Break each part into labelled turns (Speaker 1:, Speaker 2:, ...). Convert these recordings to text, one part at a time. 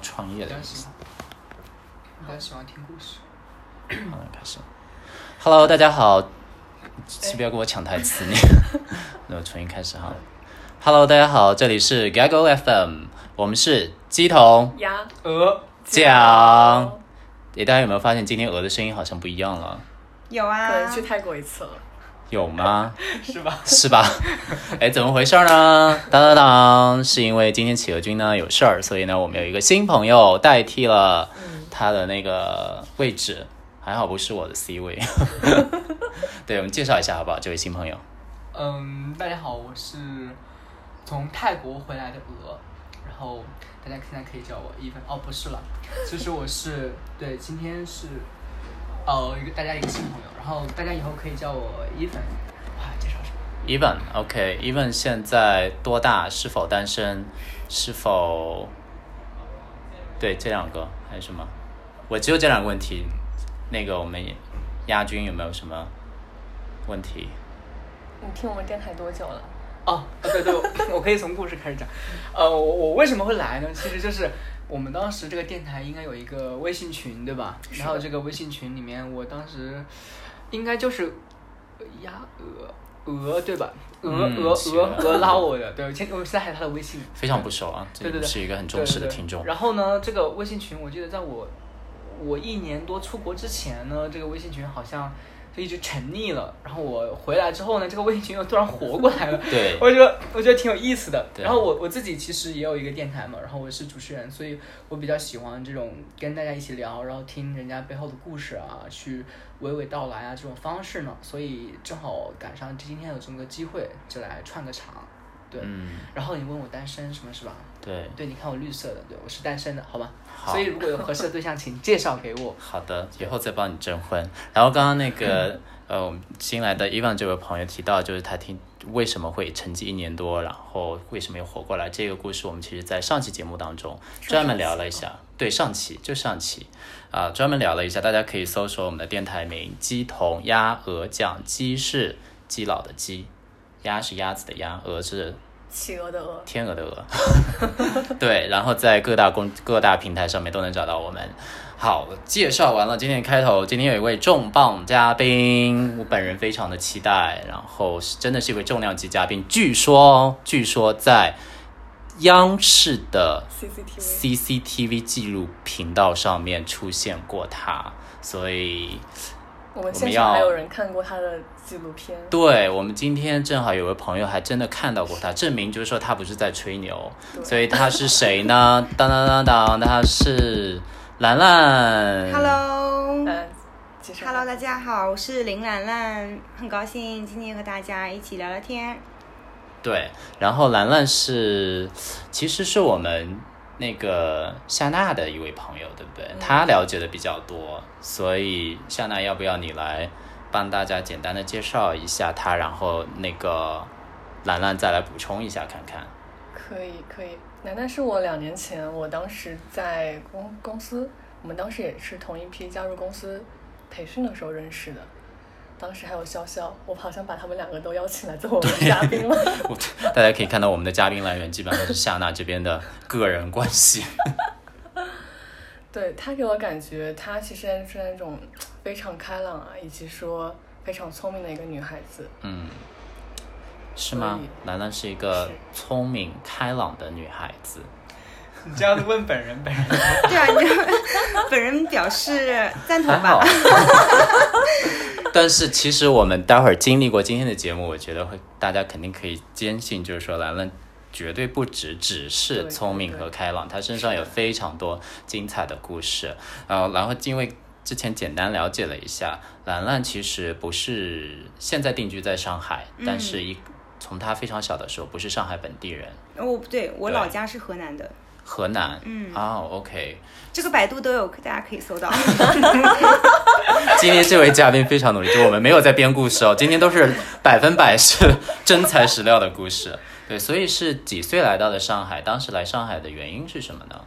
Speaker 1: 创业的
Speaker 2: 比较
Speaker 1: 意
Speaker 2: 喜
Speaker 1: 思。
Speaker 2: 欢，比较喜欢听故事。
Speaker 1: 好的，开始。Hello，大家好，呃请不要跟我抢台词，你。 那我重新开始哈。Hello，大家好，这里是 Gaggle FM，我们是鸡同
Speaker 3: 鸭
Speaker 2: 鹅，
Speaker 1: 讲。诶，大家有没有发现今天鹅的声音好像不一样了？
Speaker 4: 有啊，
Speaker 3: 可能去泰国一次了，
Speaker 1: 有吗？
Speaker 2: 是吧？
Speaker 1: 是吧？ 哎，怎么回事儿呢？当当当，是因为今天企鹅君呢有事儿，所以呢我们有一个新朋友代替了他的那个位置，还好不是我的 C 位。 对，我们介绍一下好不好？这位新朋友，
Speaker 2: 嗯，大家好，我是从泰国回来的鹅，然后大家现在可以叫我 even 哦，不是了，其实我是对，今天是呃一个大家一个新朋友，然后大家以后可以叫我 even。哇，介绍什么？
Speaker 1: Evan，OK，Evan、现在多大？是否单身？是否？对，这两个还有什么？我只有这两个问题。那个我们亚军有没有什么问题？
Speaker 3: 你听我们电台多久了？
Speaker 2: 哦，对对，我 我可以从故事开始讲。呃，我我为什么会来呢？其实就是我们当时这个电台应该有一个微信群，对吧？然后这个微信群里面，我当时应该就是呃鸭鹅鹅对吧？鹅
Speaker 1: 嗯
Speaker 2: 鹅
Speaker 1: 是
Speaker 2: 鹅鹅拉我的，对，现我现在还有他的微信，
Speaker 1: 非常不熟啊，这
Speaker 2: 对对对
Speaker 1: 是一个很重视的听众
Speaker 2: 对对对。然后呢，这个微信群，我记得在我我一年多出国之前呢，这个微信群好像就一直沉溺了。然后我回来之后呢，这个微信群又突然活过来了。
Speaker 1: 对
Speaker 2: 我觉得我觉得挺有意思的。
Speaker 1: 对
Speaker 2: 然后我我自己其实也有一个电台嘛，然后我是主持人，所以我比较喜欢这种跟大家一起聊，然后听人家背后的故事啊，去娓娓道来啊这种方式呢。所以正好赶上今天有这么个机会，就来串个场。对，
Speaker 1: 嗯，
Speaker 2: 然后你问我单身什么是吧？
Speaker 1: 对，
Speaker 2: 对，你看我绿色的，对我是单身的，好吧？
Speaker 1: 好
Speaker 2: 所以如果有合适的对象，请介绍给我。
Speaker 1: 好的，以后再帮你征婚。然后刚刚那 个呃，我们新来的伊万这位朋友提到，就是他听为什么会沉寂一年多，然后为什么又活过来这个故事，我们其实在上期节目当中专门聊了一下。对，上期就上期啊、专门聊了一下，大家可以搜索我们的电台名“鸡同鸭鹅酱”，鸡是基佬的鸡，鸭是鸭子的鸭，鹅是
Speaker 3: 企鹅的鹅，
Speaker 1: 天鹅的鹅， 对，然后在各大公各大平台上面都能找到我们。好，介绍完了今天的开头，今天有一位重磅嘉宾，我本人非常的期待，然后是真的是一位重量级嘉宾，据说哦据说在央视的
Speaker 3: CCTV
Speaker 1: CCTV 纪录频道上面出现过他，所以
Speaker 3: 我
Speaker 1: 们
Speaker 3: 们
Speaker 1: 现
Speaker 3: 现
Speaker 1: 场
Speaker 3: 场
Speaker 1: 还
Speaker 3: 还
Speaker 1: 有
Speaker 3: 有人看过他的纪录片，
Speaker 1: 对我们今天正好有位朋友还真的看到过他，证明就是说他不是在吹牛，
Speaker 3: 对
Speaker 1: 所以他是谁呢？ 当当当当，他是兰兰。
Speaker 4: Hello，Hello，
Speaker 3: 嗯，介绍他
Speaker 4: 大家好，我是林兰兰，很高兴今天和大家一起聊聊 天。
Speaker 1: 对，然后兰兰是，其实是我们那个夏娜的一位朋友，对不对？她了解的比较多，所以夏娜要不要你来帮大家简单的介绍一下她，然后那个兰兰再来补充一下看看。
Speaker 3: 可以可以。楠楠是我两年前，我当时在公公司，我们当时也是同一批加入公司培训的时候认识的。当时还有潇潇，我好像把他们两个都邀请来做我们嘉宾了。
Speaker 1: 我大家可以看到我们的嘉宾来源基本上是夏娜这边的个人关系。
Speaker 3: 对他给我感觉，她其实是那种非常开朗啊，以及说非常聪明的一个女孩子。
Speaker 1: 嗯，是吗
Speaker 3: 所以？
Speaker 1: 兰兰是一个
Speaker 3: 是
Speaker 1: 聪明开朗的女孩子。
Speaker 2: 你这样子问本人，本人
Speaker 4: 对啊，你就本人表示赞同
Speaker 1: 还
Speaker 4: 吧
Speaker 1: 好。 但是其实我们待会儿经历过今天的节目，我觉得会大家肯定可以坚信，就是说兰兰绝对不止只是
Speaker 3: 对
Speaker 1: 聪明
Speaker 3: 对
Speaker 1: 和开朗，她身上有非常多精彩的故事。呃，然后因为之前简单了解了一下，兰兰其实不是现在定居在上海，
Speaker 3: 嗯
Speaker 1: 但是一从她非常小的时候不是上海本地人，
Speaker 4: 哦，不对，我
Speaker 1: 对
Speaker 4: 老家是河南的，
Speaker 1: 河南。
Speaker 4: 嗯
Speaker 1: 哦，OK，
Speaker 4: 这个百度都有，大家可以 搜到。
Speaker 1: 今天这位嘉宾非常努力，就我们没有在编故事哦，今天都是百分百是真材实料的故事。对，所以是几岁来到的上海？当时来上海的原因是什么呢？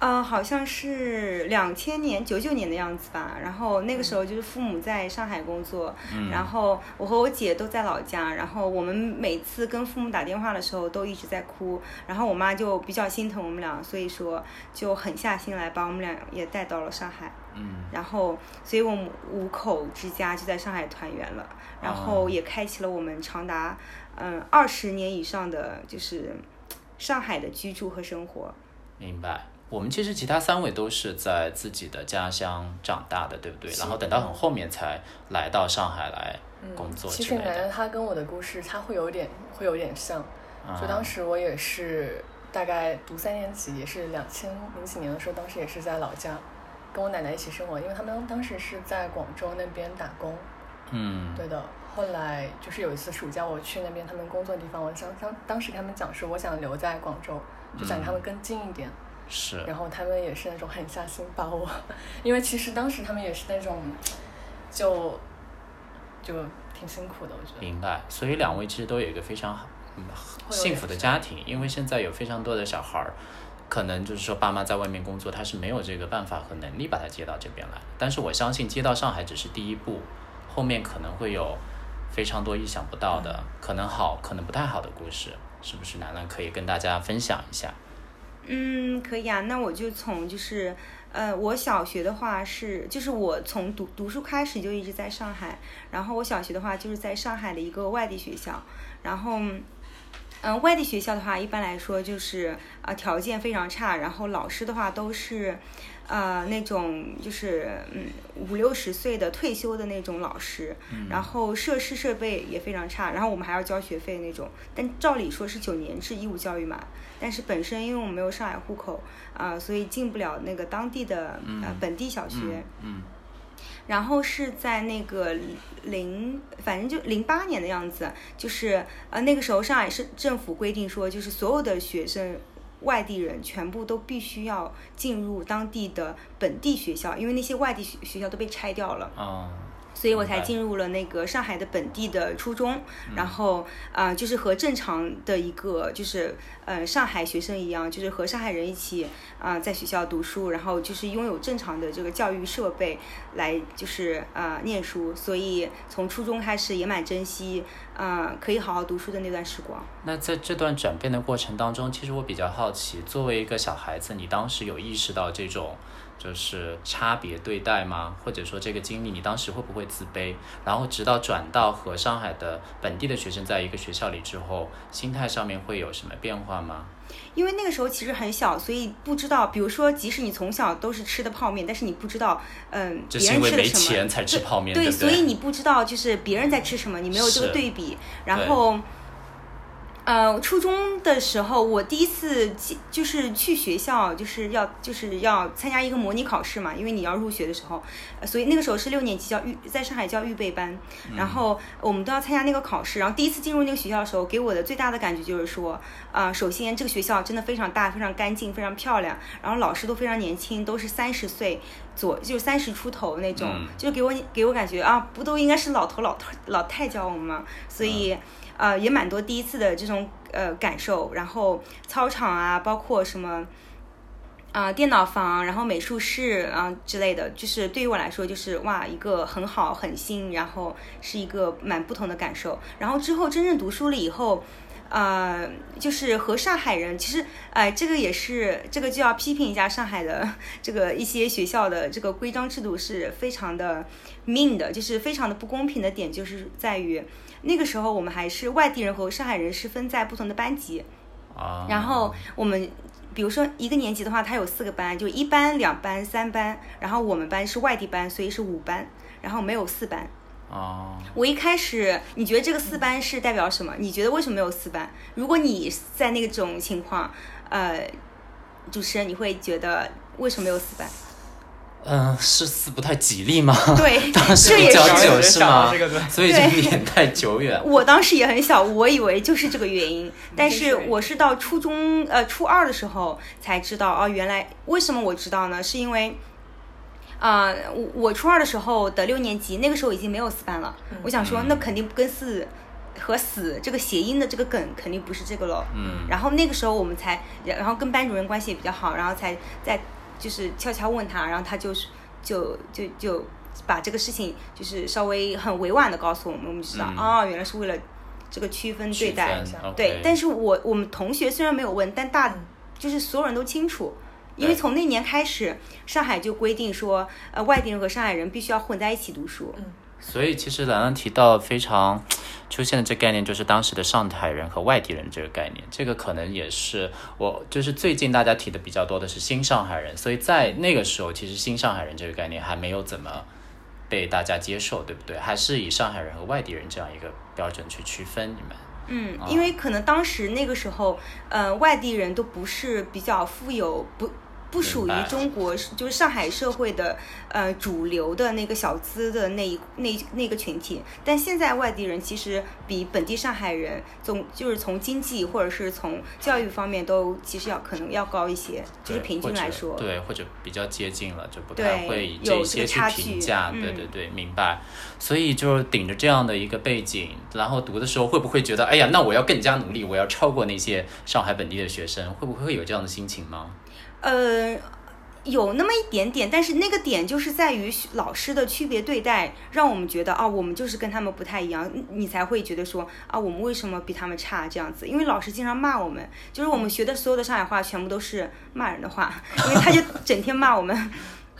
Speaker 4: 呃，好像是两千年九九年的样子吧。然后那个时候就是父母在上海工作，然后我和我姐都在老家。然后我们每次跟父母打电话的时候都一直在哭，然后我妈就比较心疼我们俩，所以说就狠下心来把我们俩也带到了上海。
Speaker 1: 嗯，
Speaker 4: 然后，所以我们五口之家就在上海团圆了，然后也开启了我们长达嗯二十年以上的就是上海的居住和生活。
Speaker 1: 明白。我们其实其他三位都是在自己的家乡长大的，对不对？然后等到很后面才来到上海来工作
Speaker 3: 其
Speaker 1: 之
Speaker 3: 实
Speaker 1: 类
Speaker 3: 楠
Speaker 1: 的。
Speaker 3: 楠她跟我的故事，她会有点会有点像。
Speaker 1: 啊
Speaker 3: 就当时我也是大概读三年级，也是两千零几年的时候，当时也是在老家，跟我奶奶一起生活，因为他们当时是在广州那边打工。
Speaker 1: 嗯
Speaker 3: 对的，后来就是有一次暑假我去那边他们工作的地方，我想当当时他们讲说我想留在广州，就
Speaker 1: 嗯
Speaker 3: 想离他们更近一点。
Speaker 1: 是
Speaker 3: 然后他们也是那种狠下心把我，因为其实当时他们也是那种，就就挺辛苦的，我觉得。
Speaker 1: 明白。所以两位其实都有一个非常好嗯
Speaker 3: 会有
Speaker 1: 幸福的
Speaker 3: 点
Speaker 1: 家庭，因为现在有非常多的小孩儿，可能就是说爸妈在外面工作，他是没有这个办法和能力把他接到这边来。但是我相信接到上海只是第一步，后面可能会有非常多意想不到
Speaker 3: 嗯
Speaker 1: 的，可能好，可能不太好的故事，是不是？楠楠可以跟大家分享一下。
Speaker 4: 嗯，可以啊。那我就从就是，呃，我小学的话是，就是我从读读书开始就一直在上海，然后我小学的话就是在上海的一个外地学校，然后。嗯，外地学校的话，一般来说就是呃条件非常差，然后老师的话都是，呃那种就是嗯五六十岁的退休的那种老师，然后设施设备也非常差，然后我们还要交学费那种。但照理说是九年制义务教育嘛，但是本身因为我们没有上海户口啊、呃所以进不了那个当地的、呃本地小学。
Speaker 1: 嗯，
Speaker 4: 然后是在那个零，反正就零八年的样子，就是呃那个时候上海市政府规定说，就是所有的学生。外地人全部都必须要进入当地的本地学校，因为那些外地学学校都被拆掉了。
Speaker 1: 哦，
Speaker 4: 所以我才
Speaker 1: 明白嗯
Speaker 4: 进入了那个上海的本地的初中，然后啊、呃就是和正常的一个就是呃上海学生一样，就是和上海人一起啊、呃在学校读书，然后就是拥有正常的这个教育设备来就是呃念书，所以从初中开始也蛮珍惜啊、呃可以好好读书的那段时光。
Speaker 1: 那在这段转变的过程当中，其实我比较好奇，作为一个小孩子，你当时有意识到这种就是差别对待吗？或者说这个经历，你当时会不会自卑？然后直到转到和上海的本地的学生在一个学校里之后，心态上面会有什么变化吗？
Speaker 4: 因为那个时候其实很小，所以不知道，比如说即使你从小都是吃的泡面，但是你不知道嗯、
Speaker 1: 只
Speaker 4: 别
Speaker 1: 是因
Speaker 4: 人
Speaker 1: 为
Speaker 4: 吃的
Speaker 1: 没
Speaker 4: 什么。
Speaker 1: 钱才吃泡面，
Speaker 4: 对，
Speaker 1: 不对？
Speaker 4: 所以你不知道就是别人在吃什么，你没有这个
Speaker 1: 是
Speaker 4: 对比。然后，呃，初中的时候，我第一次进就是去学校，就是要就是要参加一个模拟考试嘛，因为你要入学的时候，呃所以那个时候是六年级叫预，在上海叫预备班，
Speaker 1: 嗯
Speaker 4: 然后我们都要参加那个考试。然后第一次进入那个学校的时候，给我的最大的感觉就是说，啊、首先这个学校真的非常大，非常干净，非常漂亮，然后老师都非常年轻，都是三十岁左，就是三十出头那种，
Speaker 1: 嗯
Speaker 4: 就是给我给我感觉啊，不都应该是老头老头老太教我们吗？所以。呃，也蛮多第一次的这种呃感受，然后操场啊，包括什么啊、电脑房，然后美术室啊之类的，就是对于我来说，就是哇，一个很好很新，然后是一个蛮不同的感受。然后之后真正读书了以后。呃，就是和上海人，其实，哎、这个也是，这个就要批评一下上海的这个一些学校的这个规章制度是非常的 mean 的，就是非常的不公平的点，就是在于那个时候我们还是外地人和上海人是分在不同的班级，
Speaker 1: 啊，
Speaker 4: 然后我们比如说一个年级的话，它有四个班，就一班、两班、三班，然后我们班是外地班，所以是五班，然后没有四班。
Speaker 1: 哦，
Speaker 4: 我一开始，你觉得这个四班是代表什么？你觉得为什么没有四班？如果你在那个种情况，呃，主持人你会觉得为什么没有四 班？
Speaker 1: 嗯、是是不太吉利 吗？
Speaker 4: 对，
Speaker 1: 当时
Speaker 4: 这也
Speaker 1: 比较
Speaker 4: 是
Speaker 1: 久是吗？
Speaker 2: 这个对
Speaker 1: 所以这个年代久远，
Speaker 4: 我当时也很小，我以为嗯就是这个原因，但是我是到初中呃初二的时候才知道哦，原来为什么我知道呢？是因为。啊、我我初二的时候的六年级，那个时候已经没有四班了。我想
Speaker 1: 嗯
Speaker 4: 说，那肯定跟四和死这个谐音的这个梗肯定不是这个喽。
Speaker 1: 嗯
Speaker 4: 然后那个时候我们才，然后跟班主任关系也比较好，然后才在就是悄悄问他，然后他就是就就就把这个事情就是稍微很委婉的告诉我们，我们就知道
Speaker 1: 嗯
Speaker 4: 啊、原来是为了这个区分嗯对待，
Speaker 1: 区分，OK
Speaker 4: 对。但是我我们同学虽然没有问，但大就是所有人都清楚。因为
Speaker 1: 对
Speaker 4: 从那年开始，上海就规定说，呃，外地人和上海人必须要混在一起读书。
Speaker 1: 所以其实兰兰提到非常出现的这概念，就是当时的上海人和外地人这个概念。这个可能也是我就是最近大家提的比较多的是新上海人，所以在那个时候，其实新上海人这个概念还没有怎么被大家接受，对不对？还是以上海人和外地人这样一个标准去区分你们。
Speaker 4: 嗯，
Speaker 1: 啊
Speaker 4: 因为可能当时那个时候，呃，外地人都不是比较富有，不不属于
Speaker 1: 明白
Speaker 4: 中国，就是上海社会的呃主流的那个小资的那一那那个群体。但现在外地人其实比本地上海人总就是从经济或者是从教育方面都其实要可能要高一些，就
Speaker 1: 对
Speaker 4: 是平均
Speaker 1: 或者
Speaker 4: 来说。
Speaker 1: 对，或者比较接近了，就不
Speaker 4: 对
Speaker 1: 太会以
Speaker 4: 有
Speaker 1: 这
Speaker 4: 这
Speaker 1: 些
Speaker 4: 个
Speaker 1: 去
Speaker 4: 差
Speaker 1: 评
Speaker 4: 距
Speaker 1: 价。
Speaker 4: 嗯
Speaker 1: 对对对，明白。所以就是顶着这样的一个背景，然后读的时候会不会觉得，哎呀，那我要更加努力，我要超过那些上海本地的学生，会不会有这样的心情吗？
Speaker 4: 呃，有那么一点点，但是那个点就是在于学老师的区别对待，让我们觉得啊、我们就是跟他们不太一样，你你才会觉得说啊，我们为什么比他们差这样子？因为老师经常骂我们，就是我们学的所有的上海话全部都是骂人的话，因为他就整天骂我们。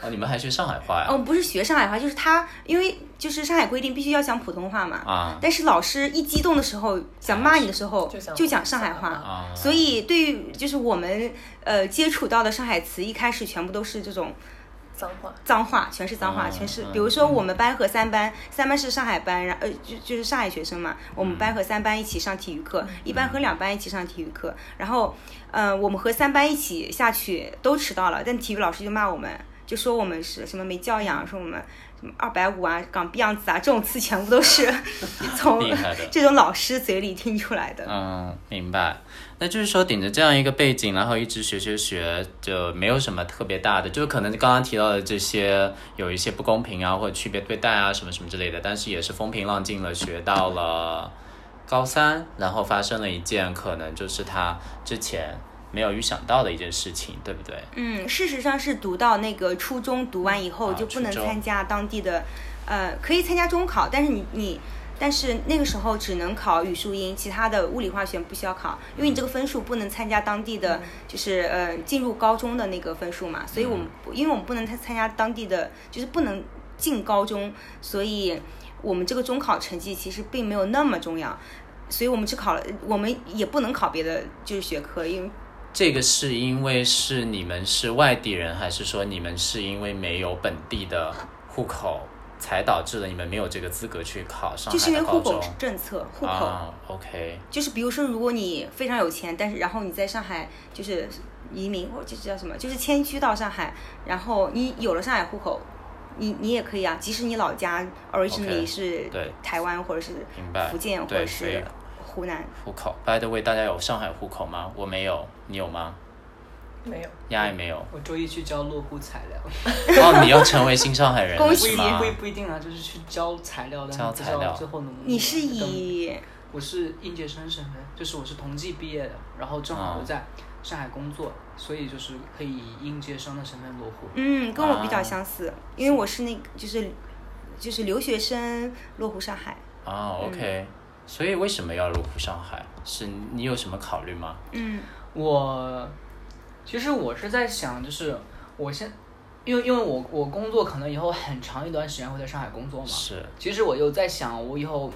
Speaker 1: 哦，你们还学上海话呀？
Speaker 4: 嗯，不是学上海话，就是他，因为就是上海规定必须要讲普通话嘛。
Speaker 1: 啊
Speaker 4: 但是老师一激动的时候，想骂你的时候，
Speaker 3: 就讲
Speaker 4: 就讲上海
Speaker 3: 上海
Speaker 4: 话
Speaker 3: 话。
Speaker 1: 啊，
Speaker 4: 所以对于就是我们呃接触到的上海词，一开始全部都是这种
Speaker 3: 脏话，
Speaker 4: 脏话，全是脏话，
Speaker 1: 嗯
Speaker 4: 全是
Speaker 1: 嗯。
Speaker 4: 比如说我们班和三班，三班是上海班，然呃就就是上海学生嘛，我们班和三班一起上体育课，
Speaker 1: 嗯
Speaker 4: 一班和两班一起上体育课，然后呃我们和三班一起下去都迟到了，但体育老师就骂我们。就说我们是什么没教养，说我们什么二百五啊、港币样子啊，这种词全部都是 从
Speaker 1: 厉害的
Speaker 4: 这种老师嘴里听出来的。
Speaker 1: 嗯，明白。那就是说，顶着这样一个背景，然后一直学学学，就没有什么特别大的，就是可能刚刚提到的这些有一些不公平啊，或者区别对待啊，什么什么之类的，但是也是风平浪静了，学到了高三，然后发生了一件可能就是他之前没有预想到的一件事情，对不对？
Speaker 4: 嗯，事实上是读到那个初中，读完以后
Speaker 1: 啊
Speaker 4: 就不
Speaker 1: 初
Speaker 4: 能
Speaker 1: 中
Speaker 4: 参加当地的，呃，可以参加中考，但是你你，但是那个时候只能考语数英，其他的物理化学不需要考，因为你这个分数不能参加当地
Speaker 1: 嗯
Speaker 4: 的，就是呃进入高中的那个分数嘛，所以我们不因为我们不能参参加当地的，就是不能进高中，所以我们这个中考成绩其实并没有那么重要。所以我们只考了，我们也不能考别的就是学科，因为
Speaker 1: 这个是因为是你们是外地人，还是说你们是因为没有本地的户口，才导致了你们没有这个资格去考上
Speaker 4: 就是
Speaker 1: 海
Speaker 4: 因为
Speaker 1: 的
Speaker 4: 户
Speaker 1: 高
Speaker 4: 口
Speaker 1: 中？
Speaker 4: 政策，户口、
Speaker 1: 啊，OK，
Speaker 4: 就是比如说，如果你非常有钱，但是然后你在上海就是移民，或者就是叫什么，就是迁居到上海，然后你有了上海户口，你你也可以啊，即使你老家 originally
Speaker 1: OK，
Speaker 4: 是
Speaker 1: 对
Speaker 4: 台湾或者是
Speaker 1: 明白
Speaker 4: 福建或
Speaker 1: 对
Speaker 4: 者
Speaker 1: 所以
Speaker 4: 是湖南，
Speaker 1: 户口。By the way，大家有上海户口吗？我没有，你有吗？
Speaker 3: 没有，
Speaker 1: 丫也没 有。
Speaker 2: 我周一去交落户材料，
Speaker 1: 哦，你要成为新上海人
Speaker 4: 恭
Speaker 1: 了
Speaker 2: 不一
Speaker 1: 是
Speaker 4: 喜嗯
Speaker 2: 定
Speaker 1: 吗
Speaker 2: 不？一不一定啊，就是去交材料，但
Speaker 1: 交
Speaker 2: 是不
Speaker 1: 材
Speaker 2: 知
Speaker 1: 料
Speaker 2: 道最后能不能。
Speaker 4: 你
Speaker 1: 嗯
Speaker 4: 是以
Speaker 2: 我是应届生身份，就是我是同济毕业的，然后正好
Speaker 1: 哦
Speaker 2: 我在上海工作，所以就是可以以应届生的身份落户。
Speaker 4: 嗯跟我比较
Speaker 1: 啊
Speaker 4: 相似，因为我是那个就是就是留学生落户上海，
Speaker 1: 啊，OK。所以为什么要入户上海？是你有什么考虑吗？
Speaker 4: 嗯
Speaker 2: 我其实我是在想，就是我现，因为因为我我工作可能以后很长一段时间会在上海工作嘛，
Speaker 1: 是
Speaker 2: 其实我又在想，我以后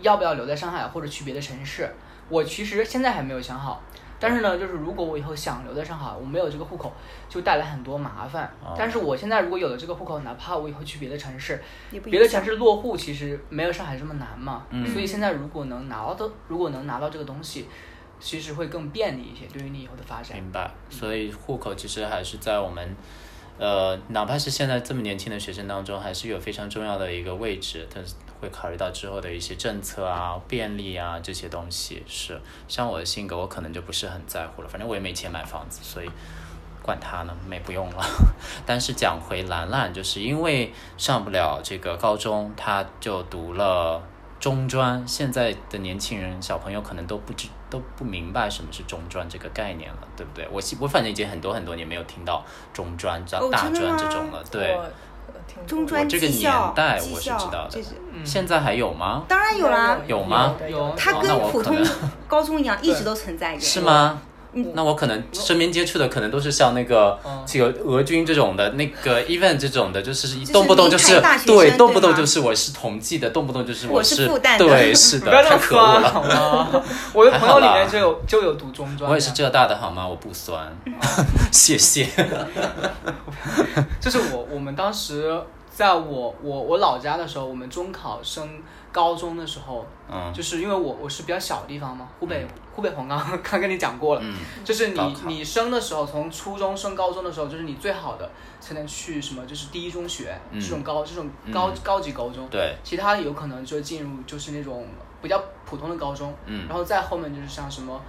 Speaker 2: 要不要留在上海，或者去别的城市。我其实现在还没有想好。但是呢，就是如果我以后想留在上海，我没有这个户口，就带来很多麻烦。
Speaker 1: 哦
Speaker 2: 但是我现在如果有了这个户口，哪怕我以后去别的城市，
Speaker 4: 也不
Speaker 2: 别的
Speaker 4: 影响
Speaker 2: 城市落户其实没有上海这么难嘛。
Speaker 1: 嗯
Speaker 2: 所以现在如果能拿到的，如果能拿到这个东西，其实会更便利一些，对于你以后的发展。
Speaker 1: 明白。所以户口其实还是在我们，呃，哪怕是现在这么年轻的学生当中，还是有非常重要的一个位置。但是会考虑到之后的一些政策啊、便利啊这些东西。是，像我的性格，我可能就不是很在乎了，反正我也没钱买房子，所以管他呢，没不用了。但是讲回兰兰，就是因为上不了这个高中，她就读了。中专，现在的年轻人小朋友可能都不知都不明白什么是中专这个概念了，对不对？我记我反正已经很多很多年没有听到中专、大
Speaker 4: 哦
Speaker 1: 大
Speaker 4: 真的
Speaker 1: 专
Speaker 4: 吗
Speaker 1: 这种了，对。
Speaker 3: 我我听过
Speaker 4: 中专
Speaker 1: 我这个
Speaker 4: 技校
Speaker 1: 年代
Speaker 4: 技
Speaker 1: 我是
Speaker 4: 校
Speaker 1: 知道的
Speaker 4: 这是
Speaker 2: 嗯
Speaker 1: 现在还有吗？
Speaker 4: 当然有啦，
Speaker 1: 有吗
Speaker 3: 的
Speaker 2: 有
Speaker 3: 的
Speaker 4: 它
Speaker 1: 哦那
Speaker 4: 跟
Speaker 1: 我
Speaker 4: 普
Speaker 1: 可
Speaker 4: 通
Speaker 1: 能
Speaker 4: 高中一样，一直
Speaker 2: 对
Speaker 4: 都存在着。
Speaker 1: 是吗？
Speaker 4: 嗯
Speaker 1: 那我可能身边接触的可能都是像那个
Speaker 2: 嗯
Speaker 1: 这个俄军这种的，那个 event 这种的，就是一
Speaker 4: 是
Speaker 1: 动不动就
Speaker 4: 名
Speaker 1: 是
Speaker 4: 牌大学生
Speaker 1: 对，
Speaker 4: 对
Speaker 1: 动不动
Speaker 4: 吗
Speaker 1: 就是我是同济的，动不动就是
Speaker 4: 我是
Speaker 1: 是
Speaker 4: 复旦的
Speaker 1: 对，是
Speaker 2: 不
Speaker 1: 的，
Speaker 2: 要这
Speaker 1: 太
Speaker 2: 么
Speaker 1: 可恶
Speaker 2: 酸
Speaker 1: 了。
Speaker 2: 好吗？ 我的朋友里
Speaker 1: 还好
Speaker 2: 面
Speaker 1: 啦
Speaker 2: 就有就有读中专，
Speaker 1: 我也是，浙大的好吗？我不 酸，谢谢。
Speaker 2: 就是我我们当时在我我我老家的时候，我们中考升高中的时候，
Speaker 1: 嗯
Speaker 2: 就是因为我我是比较小的地方嘛，湖北湖北红刚刚跟你讲过了，
Speaker 1: 嗯，
Speaker 2: 就是你
Speaker 1: 高考
Speaker 2: 你升的时候，从初中升高中的时候，就是你最好的才能去什么，就是第一中学、
Speaker 1: 嗯
Speaker 2: 这种高这种高、
Speaker 1: 嗯
Speaker 2: 高级高中，
Speaker 1: 对，
Speaker 2: 其他的有可能就进入就是那种比较普通的高中，
Speaker 1: 嗯
Speaker 2: 然后再后面就是像什么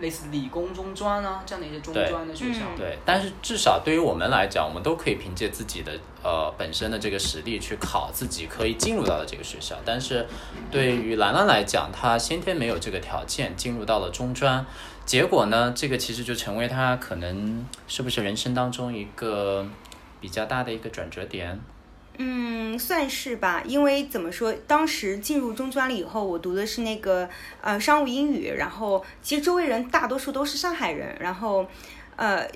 Speaker 2: 类似理工中专啊这样的一些中
Speaker 1: 对
Speaker 2: 专的学校，
Speaker 4: 嗯
Speaker 1: 对。但是至少对于我们来讲，我们都可以凭借自己的呃本身的这个实力去考自己可以进入到的这个学校。但是对于兰兰来讲，她先天没有这个条件，进入到了中专，结果呢，这个其实就成为她可能是不是人生当中一个比较大的一个转折点。
Speaker 4: 嗯，算是吧，因为怎么说，当时进入中专了以后，我读的是那个呃商务英语，然后其实周围人大多数都是上海人，然后呃，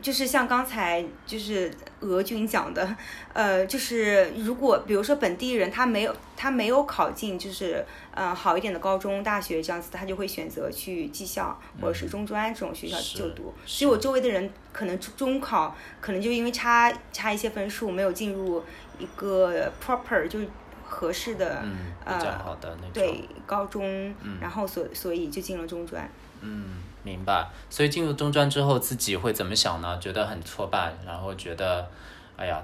Speaker 4: 就是像刚才就是俄军讲的，呃，就是如果比如说本地人他没有他没有考进就是呃好一点的高中、大学这样子，他就会选择去技校或者是中专这种学校
Speaker 1: 嗯是
Speaker 4: 就读。
Speaker 1: 是
Speaker 4: 所以我周围的人可能中中考可能就因为差差一些分数，没有进入一个 proper 就是合适的、
Speaker 1: 嗯，比较
Speaker 4: 呃
Speaker 1: 好的那种。
Speaker 4: 对高中，然后所所以就进了中专。
Speaker 1: 嗯，明白。所以进入中专之后，自己会怎么想呢？觉得很挫败，然后觉得，哎呀，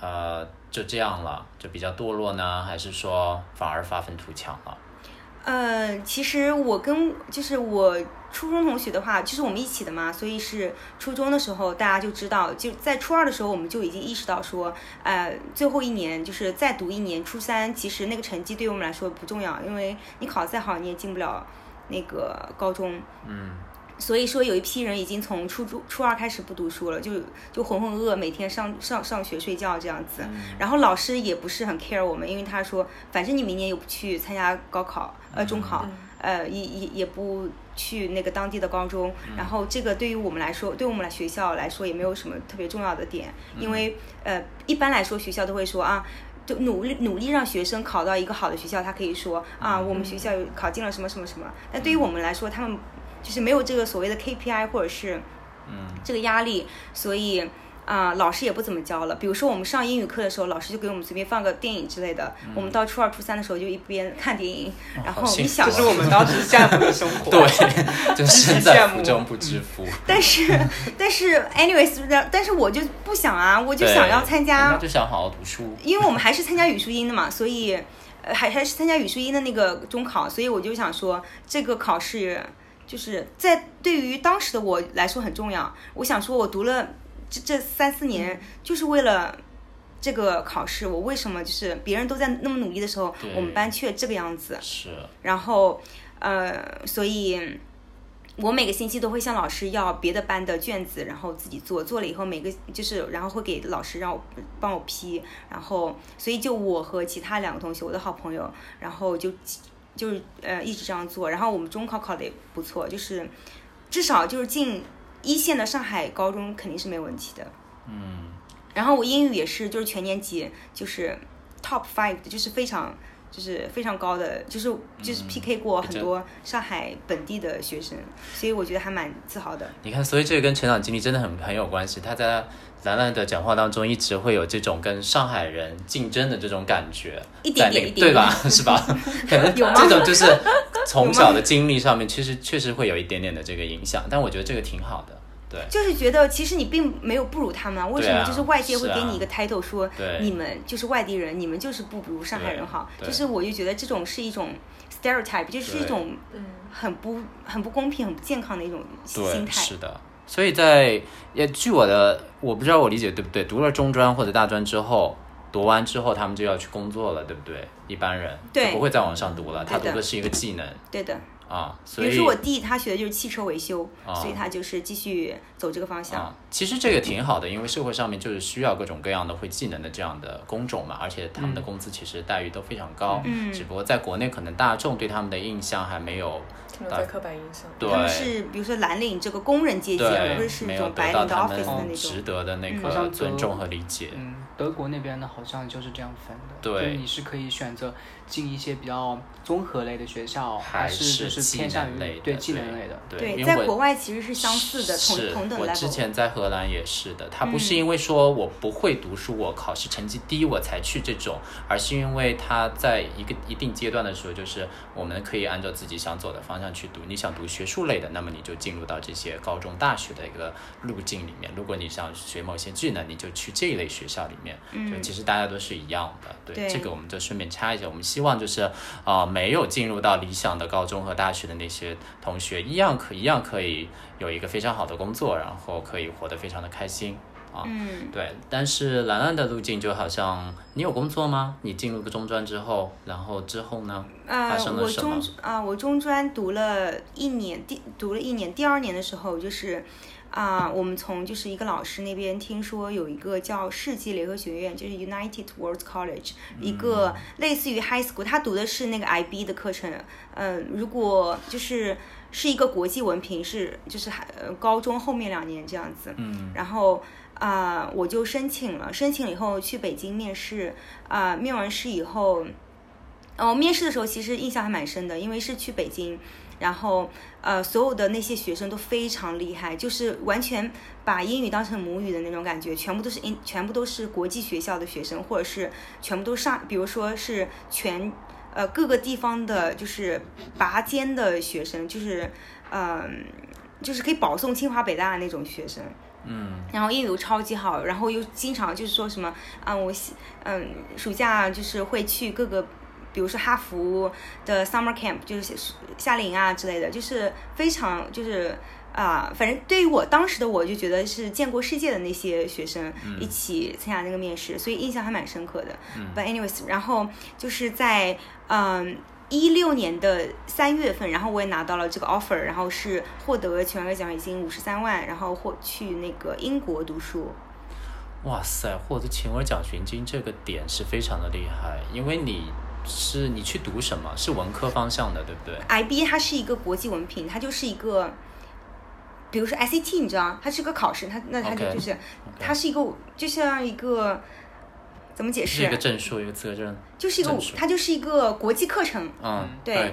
Speaker 1: 呃，就这样了，就比较堕落呢，还是说反而发愤图强了？
Speaker 4: 呃，其实我跟就是我初中同学的话，就是我们一起的嘛，所以是初中的时候大家就知道，就在初二的时候我们就已经意识到说，呃，最后一年就是再读一年，初三其实那个成绩对我们来说不重要，因为你考再好你也进不了那个高中。
Speaker 1: 嗯
Speaker 4: 所以说，有一批人已经从初中、初二开始不读书了，就就浑浑噩噩，每天上上上学睡觉这样子。然后老师也不是很 care 我们，因为他说，反正你明年也不去参加高考，呃，中考，呃，也也也不去那个当地的高中。
Speaker 1: 嗯
Speaker 4: 然后这个对于我们来说，对我们来学校来说也没有什么特别重要的点，
Speaker 1: 嗯
Speaker 4: 因为呃，一般来说学校都会说啊。就努力努力让学生考到一个好的学校，他可以说啊，我们学校
Speaker 1: 嗯
Speaker 4: 有考进了什么什么什么。但对于我们来说，他们就是没有这个所谓的 KPI 或者是
Speaker 1: 嗯
Speaker 4: 这个压力，所以啊、老师也不怎么教了。比如说我们上英语课的时候，老师就给我们随便放个电影之类的，我们到初二、初三的时候就一边看电影，然后
Speaker 1: 嗯哦好幸
Speaker 4: 你
Speaker 1: 福
Speaker 4: 想
Speaker 2: 这是我们当时羡慕的生 活。
Speaker 1: 对，就身在福中不知福。
Speaker 4: 但 是但是 anyways，但是我就不想啊，我就
Speaker 1: 对
Speaker 4: 想要参
Speaker 1: 人
Speaker 4: 加
Speaker 1: 家就想好好读书。
Speaker 4: 因为我们还是参加语数英的嘛，所以呃还还是参加语数英的那个中考，所以我就想说这个考试就是在对于当时的我来说很重要。我想说，我读了这这三四
Speaker 1: 嗯
Speaker 4: 年就是为了。这个考试，我为什么就是别人都在那么努力的时候
Speaker 1: 对，
Speaker 4: 我们班却这个样子？
Speaker 1: 是，
Speaker 4: 然后呃，所以我每个星期都会向老师要别的班的卷子，然后自己做，做了以后每个就是然后会给老师让我帮我批，然后所以就我和其他两个同学，我的好朋友，然后就就是呃一直这样做，然后我们中考考的也不错，就是至少就是进一线的上海高中肯定是没问题的。
Speaker 1: 嗯
Speaker 4: 然后我英语也是，就是全年级就是 top five，的就是非常就是非常高的，就是就是
Speaker 1: 嗯
Speaker 4: PK 过
Speaker 1: 比较
Speaker 4: 很多上海本地的学生，所以我觉得还蛮自豪的。
Speaker 1: 你看，所以这个跟成长经历真的很很有关系。他在兰兰的讲话当中，一直会有这种跟上海人竞争的这种感觉，
Speaker 4: 一点
Speaker 1: 在
Speaker 4: 点
Speaker 1: 那
Speaker 4: 一
Speaker 1: 个
Speaker 4: 点
Speaker 1: 对吧？是吧？可能
Speaker 4: 有吗
Speaker 1: 这种就是从小的经历上面，其实确实会有一点点的这个影响，但我觉得这个挺好的。对
Speaker 4: 就是觉得其实你并没有不如他们啊，为什
Speaker 1: 对
Speaker 4: 么
Speaker 1: 啊
Speaker 4: 就是外界会
Speaker 1: 是啊
Speaker 4: 给你一个 title 说
Speaker 1: 对
Speaker 4: 你们就是外地人，你们就是不如上海人好？
Speaker 1: 对对
Speaker 4: 就是我就觉得这种是一种 stereotype，就是一
Speaker 1: 对
Speaker 4: 种
Speaker 3: 嗯，
Speaker 4: 很不很不公平、很不健康的一种心
Speaker 1: 对，
Speaker 4: 态。
Speaker 1: 是的。所以在也据我的，我不知道我理解对不对，读了中专或者大专之后，读完之后他们就要去工作了，对不对？一般人
Speaker 4: 对
Speaker 1: 就不会再往上读了，他
Speaker 4: 对的
Speaker 1: 读的是一个技能
Speaker 4: 对的。
Speaker 1: 啊，所
Speaker 4: 比如
Speaker 1: 以
Speaker 4: 说我弟他学的就是汽车维修，
Speaker 1: 啊
Speaker 4: 所以他就是继续走这个方向。
Speaker 1: 啊，其实这个挺好的，因为社会上面就是需要各种各样的会技能的这样的工种嘛，而且他
Speaker 2: 嗯
Speaker 1: 们的工资其实待遇都非常高，
Speaker 4: 嗯
Speaker 1: 只不过在国内可能大众对他们的印象还没有
Speaker 3: 停留在刻板印象。
Speaker 1: 对
Speaker 4: 他们是比如说蓝领这个工人阶级，而不
Speaker 1: 对
Speaker 4: 是是
Speaker 1: 没
Speaker 4: 那
Speaker 1: 有
Speaker 4: 种
Speaker 1: 得
Speaker 4: 白
Speaker 1: 到
Speaker 4: 领的
Speaker 1: 他
Speaker 4: office 的
Speaker 1: 们
Speaker 4: 那
Speaker 1: 值
Speaker 4: 种。
Speaker 1: 得的那
Speaker 4: 嗯
Speaker 2: 好像
Speaker 1: 个
Speaker 2: 德
Speaker 1: 尊重和理解，
Speaker 2: 嗯，德国那边的好像就是这样分的，
Speaker 1: 对
Speaker 2: 就是你是可以选择进一些比较综合类的学校，哦还
Speaker 1: 是
Speaker 2: 就是
Speaker 1: 技
Speaker 2: 偏向
Speaker 1: 能类
Speaker 2: 于
Speaker 1: 的，
Speaker 2: 对技能类的，
Speaker 1: 对，
Speaker 4: 对，
Speaker 1: 因为
Speaker 4: 在
Speaker 1: 我
Speaker 4: 国外其实是相似的，
Speaker 1: 是
Speaker 4: 同同等
Speaker 1: 我之
Speaker 4: level。嗯
Speaker 1: 前在荷兰也是的，他不是因为说我不会读书，我考试成绩低我才去这种，而是因为他在一个一定阶段的时候，就是我们可以按照自己想走的方向去读。你想读学术类的，那么你就进入到这些高中、大学的一个路径里面；如果你想学某些技能，你就去这一类学校里面。就其实大家都是一样的。对，
Speaker 4: 对
Speaker 1: 这个我们就顺便插一下，我们希望就是啊、没有进入到理想的高中和大学的那些同学，一样可一样可以有一个非常好的工作，然后可以活得非常的开心啊。
Speaker 4: 嗯，
Speaker 1: 对，但是兰兰的路径就好像你有工作吗？你进入个中专之后，然后之后呢？发
Speaker 4: 呃，
Speaker 1: 生了
Speaker 4: 我
Speaker 1: 什
Speaker 4: 中
Speaker 1: 么
Speaker 4: 啊、我中专读了一年，第读了一年，第二年的时候就是。啊、我们从就是一个老师那边听说有一个叫世纪联合学院，就是 United World College，、一个
Speaker 1: 嗯
Speaker 4: 类似于 high school，他读的是那个 IB 的课程。嗯、如果就是是一个国际文凭，是就是呃高中后面两年这样子。嗯，然后啊、我就申请了，申请了以后去北京面试，啊、面完试以后。哦，面试的时候其实印象还蛮深的，因为是去北京，然后呃，所有的那些学生都非常厉害，就是完全把英语当成母语的那种感觉，全部都是英，全部都是国际学校的学生，或者是全部都上，比如说是全呃各个地方的，就是拔尖的学生，就是嗯、就是可以保送清华北大的那种学生。嗯，然后英语又超级好，然后又经常就是说什么啊，我喜嗯暑假就是会去各个比如说哈佛的 summer camp，就是夏夏令营啊之类的，就是非常就是啊、反正对于我当时的我就觉得是见过世界的那些学生一起参加那个面试，所以印象还蛮深刻的。But anyways，然后就是在嗯。一六年的三月份，然后我也拿到了这个 offer，然后是获得全额奖学金五十三万，然后获去那个英国读书。
Speaker 1: 哇塞，获得勤额奖学金这个点是非常的厉害，因为你是你去读什么？是文科方向的，对不对？
Speaker 4: IB 它是一个国际文凭，它就是一个，比如说 ICT，你知道，它是个考试，它那它就
Speaker 1: OK，
Speaker 4: 就是它是一个就像一个怎么解
Speaker 1: 是一
Speaker 4: 释
Speaker 1: 个，证书，一个资格证。
Speaker 4: 就是一个
Speaker 1: 证书
Speaker 4: 它就是一个国际课程
Speaker 1: 嗯，
Speaker 4: 对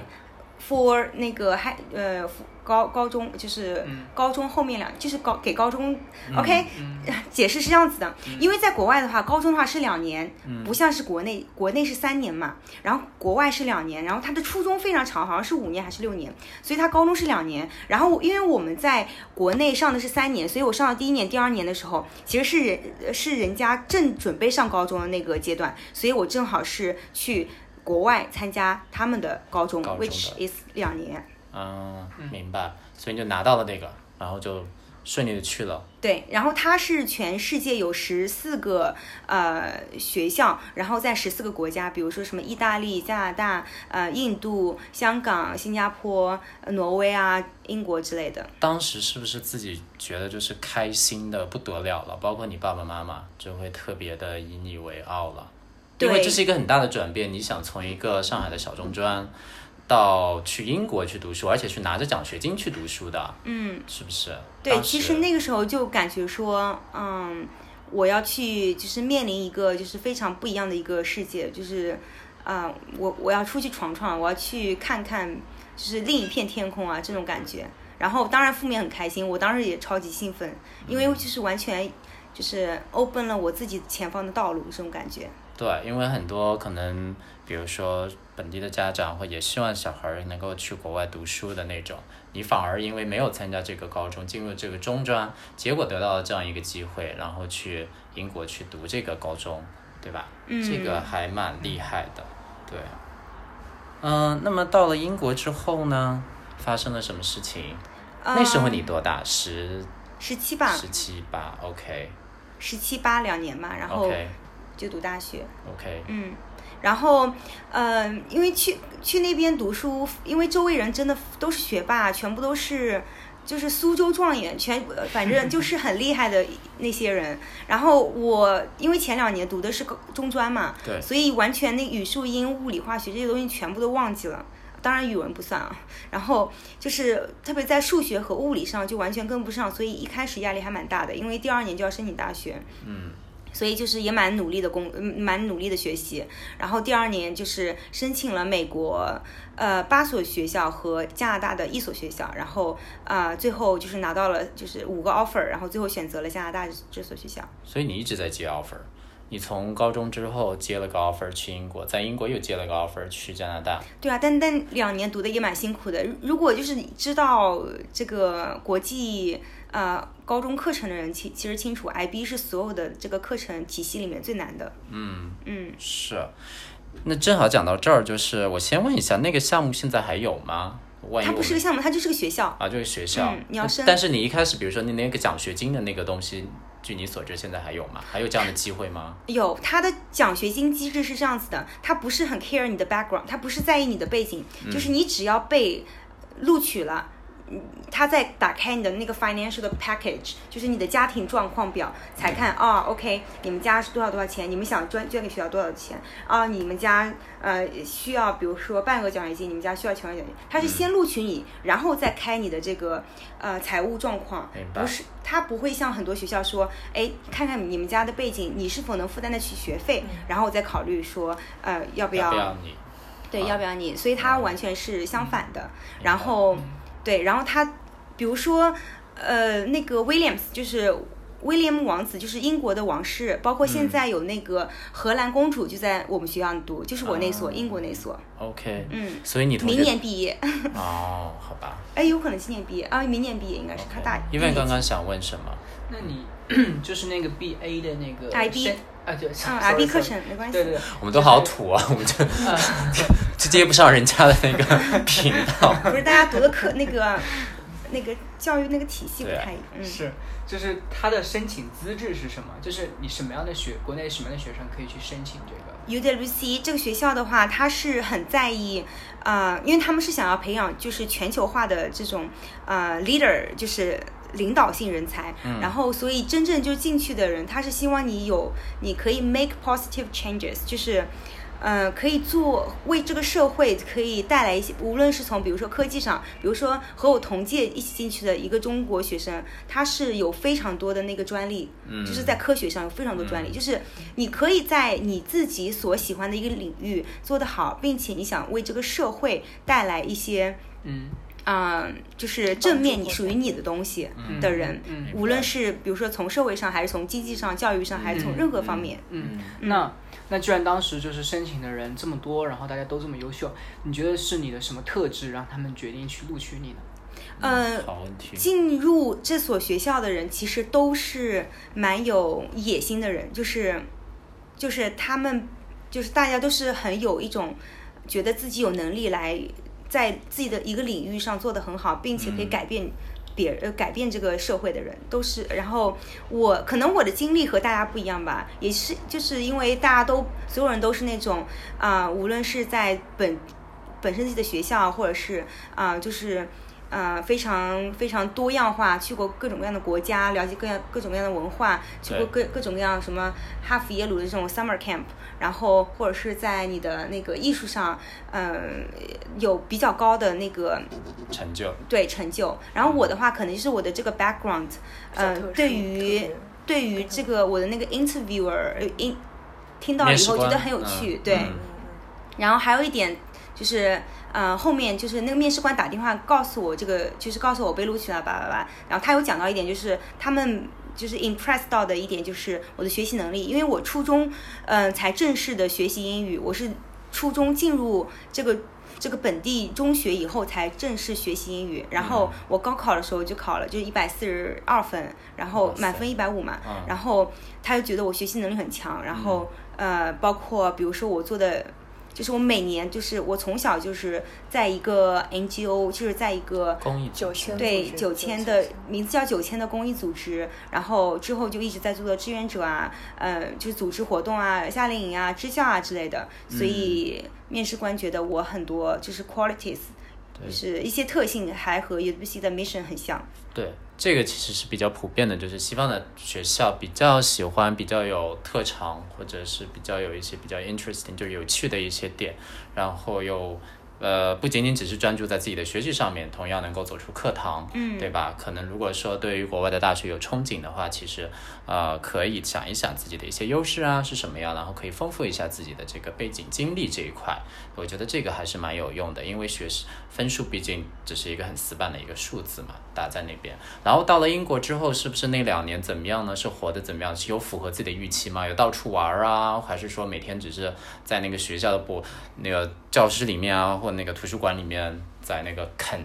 Speaker 4: for 那个还呃 for 高高中就是
Speaker 2: 嗯
Speaker 4: 高中后面两就是高给高中 OK
Speaker 2: 嗯，
Speaker 4: 解释是这样子的，因为在国外的话，高中的话是两年，不像是国内，国内是三年嘛，然后国外是两年，然后他的初中非常长，好像是五年还是六年，所以他高中是两年。然后我因为我们在国内上的是三年，所以我上到第一年、第二年的时候，其实是人呃是人家正准备上高中的那个阶段，所以我正好是去国外参加他们的高中
Speaker 1: 高中
Speaker 4: w h i c
Speaker 1: 的
Speaker 4: h is 两年。
Speaker 1: 嗯，明白。所以你就拿到了那个，然后就顺利的去了。
Speaker 4: 对，然后它是全世界有十四个呃学校，然后在十四个国家，比如说什么意大利、加拿大、呃印度、香港、新加坡、呃挪威啊、英国之类的。
Speaker 1: 当时是不是自己觉得就是开心的不得了了？包括你爸爸妈妈就会特别的以你为傲了，因为
Speaker 4: 对
Speaker 1: 这是一个很大的转变。你想从一个上海的小中专到去英国去读书，而且是拿着奖学金去读书的，嗯，是不是？
Speaker 4: 对，
Speaker 1: 当
Speaker 4: 其
Speaker 1: 时
Speaker 4: 实那个时候就感觉说，嗯，我要去就是面临一个就是非常不一样的一个世界，就是，呃，我我要出去闯闯，我要去看看就是另一片天空啊这种感觉。然后当然父母也很开心，我当时也超级兴奋，因
Speaker 1: 嗯
Speaker 4: 为就是完全就是 open 了我自己前方的道路这种感觉。
Speaker 1: 对，因为很多可能，比如说本地的家长会也希望小孩儿能够去国外读书的那种，你反而因为没有参加这个高中，进入这个中专，结果得到了这样一个机会，然后去英国去读这个高中，对吧？
Speaker 4: 嗯
Speaker 1: 这个还蛮厉害的，对。嗯、那么到了英国之后呢，发生了什么事情？那时候
Speaker 4: 嗯
Speaker 1: 你多大？十
Speaker 4: 呃十七吧，
Speaker 1: 十七八，OK
Speaker 4: 十七八两年嘛，然后
Speaker 1: OK，
Speaker 4: 就读大学。
Speaker 1: OK，
Speaker 4: 嗯，然后，呃，因为去去那边读书，因为周围人真的都是学霸，全部都是就是苏州状元，全呃反正就是很厉害的那些人。然后我因为前两年读的是高中专嘛，
Speaker 1: 对
Speaker 4: 所以完全那语数英、物理、化学这些东西全部都忘记了。当然语文不算啊，然后就是特别在数学和物理上就完全跟不上，所以一开始压力还蛮大的，因为第二年就要申请大学。
Speaker 1: 嗯，
Speaker 4: 所以就是也蛮努力的工，嗯蛮努力的学习。然后第二年就是申请了美国呃八所学校和加拿大的一所学校，然后啊、呃最后就是拿到了就是五个 offer，然后最后选择了加拿大这所学校。
Speaker 1: 所以你一直在接 offer，你从高中之后接了个 offer 去英国，在英国又接了个 offer 去加拿大，
Speaker 4: 对啊，但但两年读的也蛮辛苦的。如如果就是知道这个国际呃高中课程的人，其其实清楚 IB 是所有的这个课程体系里面最难的。
Speaker 1: 嗯，
Speaker 4: 嗯，
Speaker 1: 是。那正好讲到这儿，就是我先问一下，那个项目现在还有吗？万一
Speaker 4: 它
Speaker 1: 我
Speaker 4: 不是个
Speaker 1: 们
Speaker 4: 项目，它就是个学校。
Speaker 1: 啊，就是学校。
Speaker 4: 嗯你要
Speaker 1: 那
Speaker 4: 申
Speaker 1: 但是你一开始，比如说你那个奖学金的那个东西，据你所知，现在还有吗？还有这样的机会吗？
Speaker 4: 有，他的奖学金机制是这样子的，他不是很 care 你的 background，他不是在意你的背景，
Speaker 1: 嗯
Speaker 4: 就是你只要被录取了。嗯他再打开你的那个 financial 的 package，就是你的家庭状况表，才看
Speaker 1: 嗯
Speaker 4: 啊、o k 你们家是多少多少钱，你们想捐捐给学校多少钱啊？你们家呃需要，比如说半个奖学金，你们家需要全额奖学金，他是先录取你，然后再开你的这个呃财务状况
Speaker 1: 明，白
Speaker 4: 不是他不会像很多学校说，哎，看看你们家的背景，你是否能负担得起学费，然后再考虑说呃要不
Speaker 1: 要
Speaker 4: 要
Speaker 1: 不要你？
Speaker 4: 对，
Speaker 1: 啊嗯
Speaker 4: 要不要你？所以它完全是相反的。然
Speaker 1: 白
Speaker 4: 后，对，然后他，比如说，呃，那个 Williams 就是威廉姆王子，就是英国的王室，包括现在有那个荷兰公主就在我们学校读，就是我那所、
Speaker 1: 啊
Speaker 4: 英国那所，
Speaker 1: OK，
Speaker 4: 嗯，
Speaker 1: 所以你同学
Speaker 4: 明年毕业，
Speaker 1: 哦，好吧
Speaker 4: 哎，有可能今年毕业啊，明年毕业应该是他大嗯
Speaker 1: ，OK，，因哦为刚刚想问什么？
Speaker 2: 那你嗯就是那个 B A 的那个
Speaker 4: IB
Speaker 2: 申啊，对，
Speaker 4: 嗯
Speaker 2: sorry，
Speaker 4: ，R
Speaker 2: sorry
Speaker 4: B 课程没关系，
Speaker 2: 对对对，
Speaker 1: 我们都好土啊，我 们就 就接不上人家的那个频道。
Speaker 4: 不是大家读的课那个那个教育那个体系不
Speaker 1: 对啊
Speaker 4: 太一样，嗯，
Speaker 2: 是，就是它的申请资质是什么？就是你什么样的学，国内什么样的学生可以去申请这个？
Speaker 4: UWC 这个学校的话，它是很在意，呃，因为他们是想要培养就是全球化的这种呃 leader，就是领导性人才。然后，所以真正就进去的人，他是希望你有，你可以 make positive changes，就是。呃，可以做为这个社会可以带来一些，无论是从比如说科技上，比如说和我同届一起进去的一个中国学生，他是有非常多的那个专利，
Speaker 1: 嗯
Speaker 4: 就是在科学上有非常多专利，就是你可以在你自己所喜欢的一个领域做得好，并且你想为这个社会带来一些，
Speaker 2: 嗯
Speaker 4: 嗯、就是正面
Speaker 3: 帮助
Speaker 4: 你
Speaker 3: 或
Speaker 4: 属于你的东西
Speaker 2: 嗯
Speaker 4: 的人，
Speaker 2: 嗯
Speaker 1: 明白
Speaker 4: 无论是比如说从社会上，还是从经济上、教育上，还是从任何方面，
Speaker 2: 嗯，那那既然当时就是申请的人这么多，然后大家都这么优秀，你觉得是你的什么特质让他们决定去录取你呢？
Speaker 4: 呃，
Speaker 1: 嗯好问题。
Speaker 4: 进入这所学校的人其实都是蛮有野心的人，就是就是他们就是大家都是很有一种觉得自己有能力来在自己的一个领域上做得很好，并且可以改变。别呃改变这个社会的人都是，然后我可能我的经历和大家不一样吧，也是就是因为大家都所有人都是那种啊、无论是在本本身自己的学校，或者是啊、就是呃非常非常多样化，去过各种各样的国家，了解各样各种各样的文化，去过各各种各样什么哈佛、耶鲁的这种 summer camp，然后或者是在你的那个艺术上，嗯、有比较高的那个
Speaker 1: 成就，
Speaker 4: 对成就。然后我的话，可能就是我的这个 background，呃，对
Speaker 1: 嗯
Speaker 4: 于对于这个我的那个 interviewer 呃 in 听到了
Speaker 1: 面
Speaker 4: 以
Speaker 1: 试
Speaker 4: 后觉
Speaker 1: 官
Speaker 4: 得很有
Speaker 1: 嗯
Speaker 4: 趣，对。
Speaker 1: 嗯
Speaker 4: 然后还有一点就是，呃，后面就是那个面试官打电话告诉我这个，就是告诉我被录取了，叭叭叭。然后他有讲到一点，就是他们就是 impress 到的一点就是我的学习能力，因为我初中嗯、呃才正式的学习英语，我是初中进入这个。这个本地中学以后才正式学习英语，然后
Speaker 1: 嗯
Speaker 4: 我高考的时候就考了，就一百四十二分，然后
Speaker 1: 哇塞
Speaker 4: 满分一百五嘛，
Speaker 1: 嗯嗯
Speaker 4: 然后他就觉得我学习能力很强，然后、呃，包括比如说我做的就是我每年就是我从小就是在一个 NGO，就是在一个
Speaker 1: 公益组
Speaker 3: 嗯九千
Speaker 4: 对
Speaker 3: 组织
Speaker 4: 九千的名字叫九千的公益组织，然后之后就一直在做的志愿者啊，呃，就是组织活动啊、夏令营啊、支教啊之类的。所以面试官觉得我很多就是 qualities，就是一些特性还和 UBC 的 mission 很像。
Speaker 1: 对，这个其实是比较普遍的，就是西方的学校比较喜欢比较有特长，或者是比较有一些比较 interesting 就有趣的一些点，然后又呃不仅仅只是专注在自己的学习上面，同样能够走出课堂，嗯，对吧？可能如果说对于国外的大学有憧憬的话，其实呃可以想一想自己的一些优势啊是什么样，然后可以丰富一下自己的这个背景经历这一块，我觉得这个还是蛮有用的，因为学识分数毕竟只是一个很死板的一个数字嘛，打在那边。然后到了英国之后，是不是那两年怎么样呢？是活得怎么样？是有符合自己的预期吗？有到处玩儿啊，还是说每天只是在那个学校的博那个教室里面啊，或那个图书馆里面在那个啃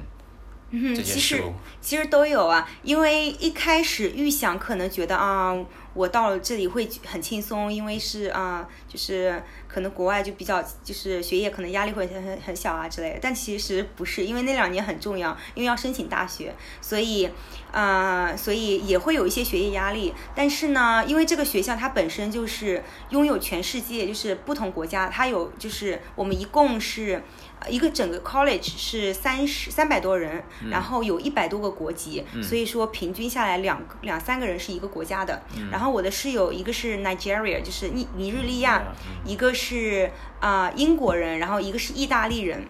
Speaker 1: 这些
Speaker 4: 嗯其实
Speaker 1: 书？
Speaker 4: 其实都有啊，因为一开始预想可能觉得啊，我到了这里会很轻松，因为是啊，就是可能国外就比较就是学业可能压力会很很很小啊之类的，但其实不是，因为那两年很重要，因为要申请大学，所以啊、所以也会有一些学业压力。但是呢，因为这个学校它本身就是拥有全世界，就是不同国家，它有就是我们一共是。呃一个整个 college 是三十三百多人，然后有一百多个国籍，所以说平均下来两个两三个人是一个国家的。然后我的室友一个是 Nigeria，就是尼尼日利亚，一个是啊、呃英国人，然后一个是意大利人。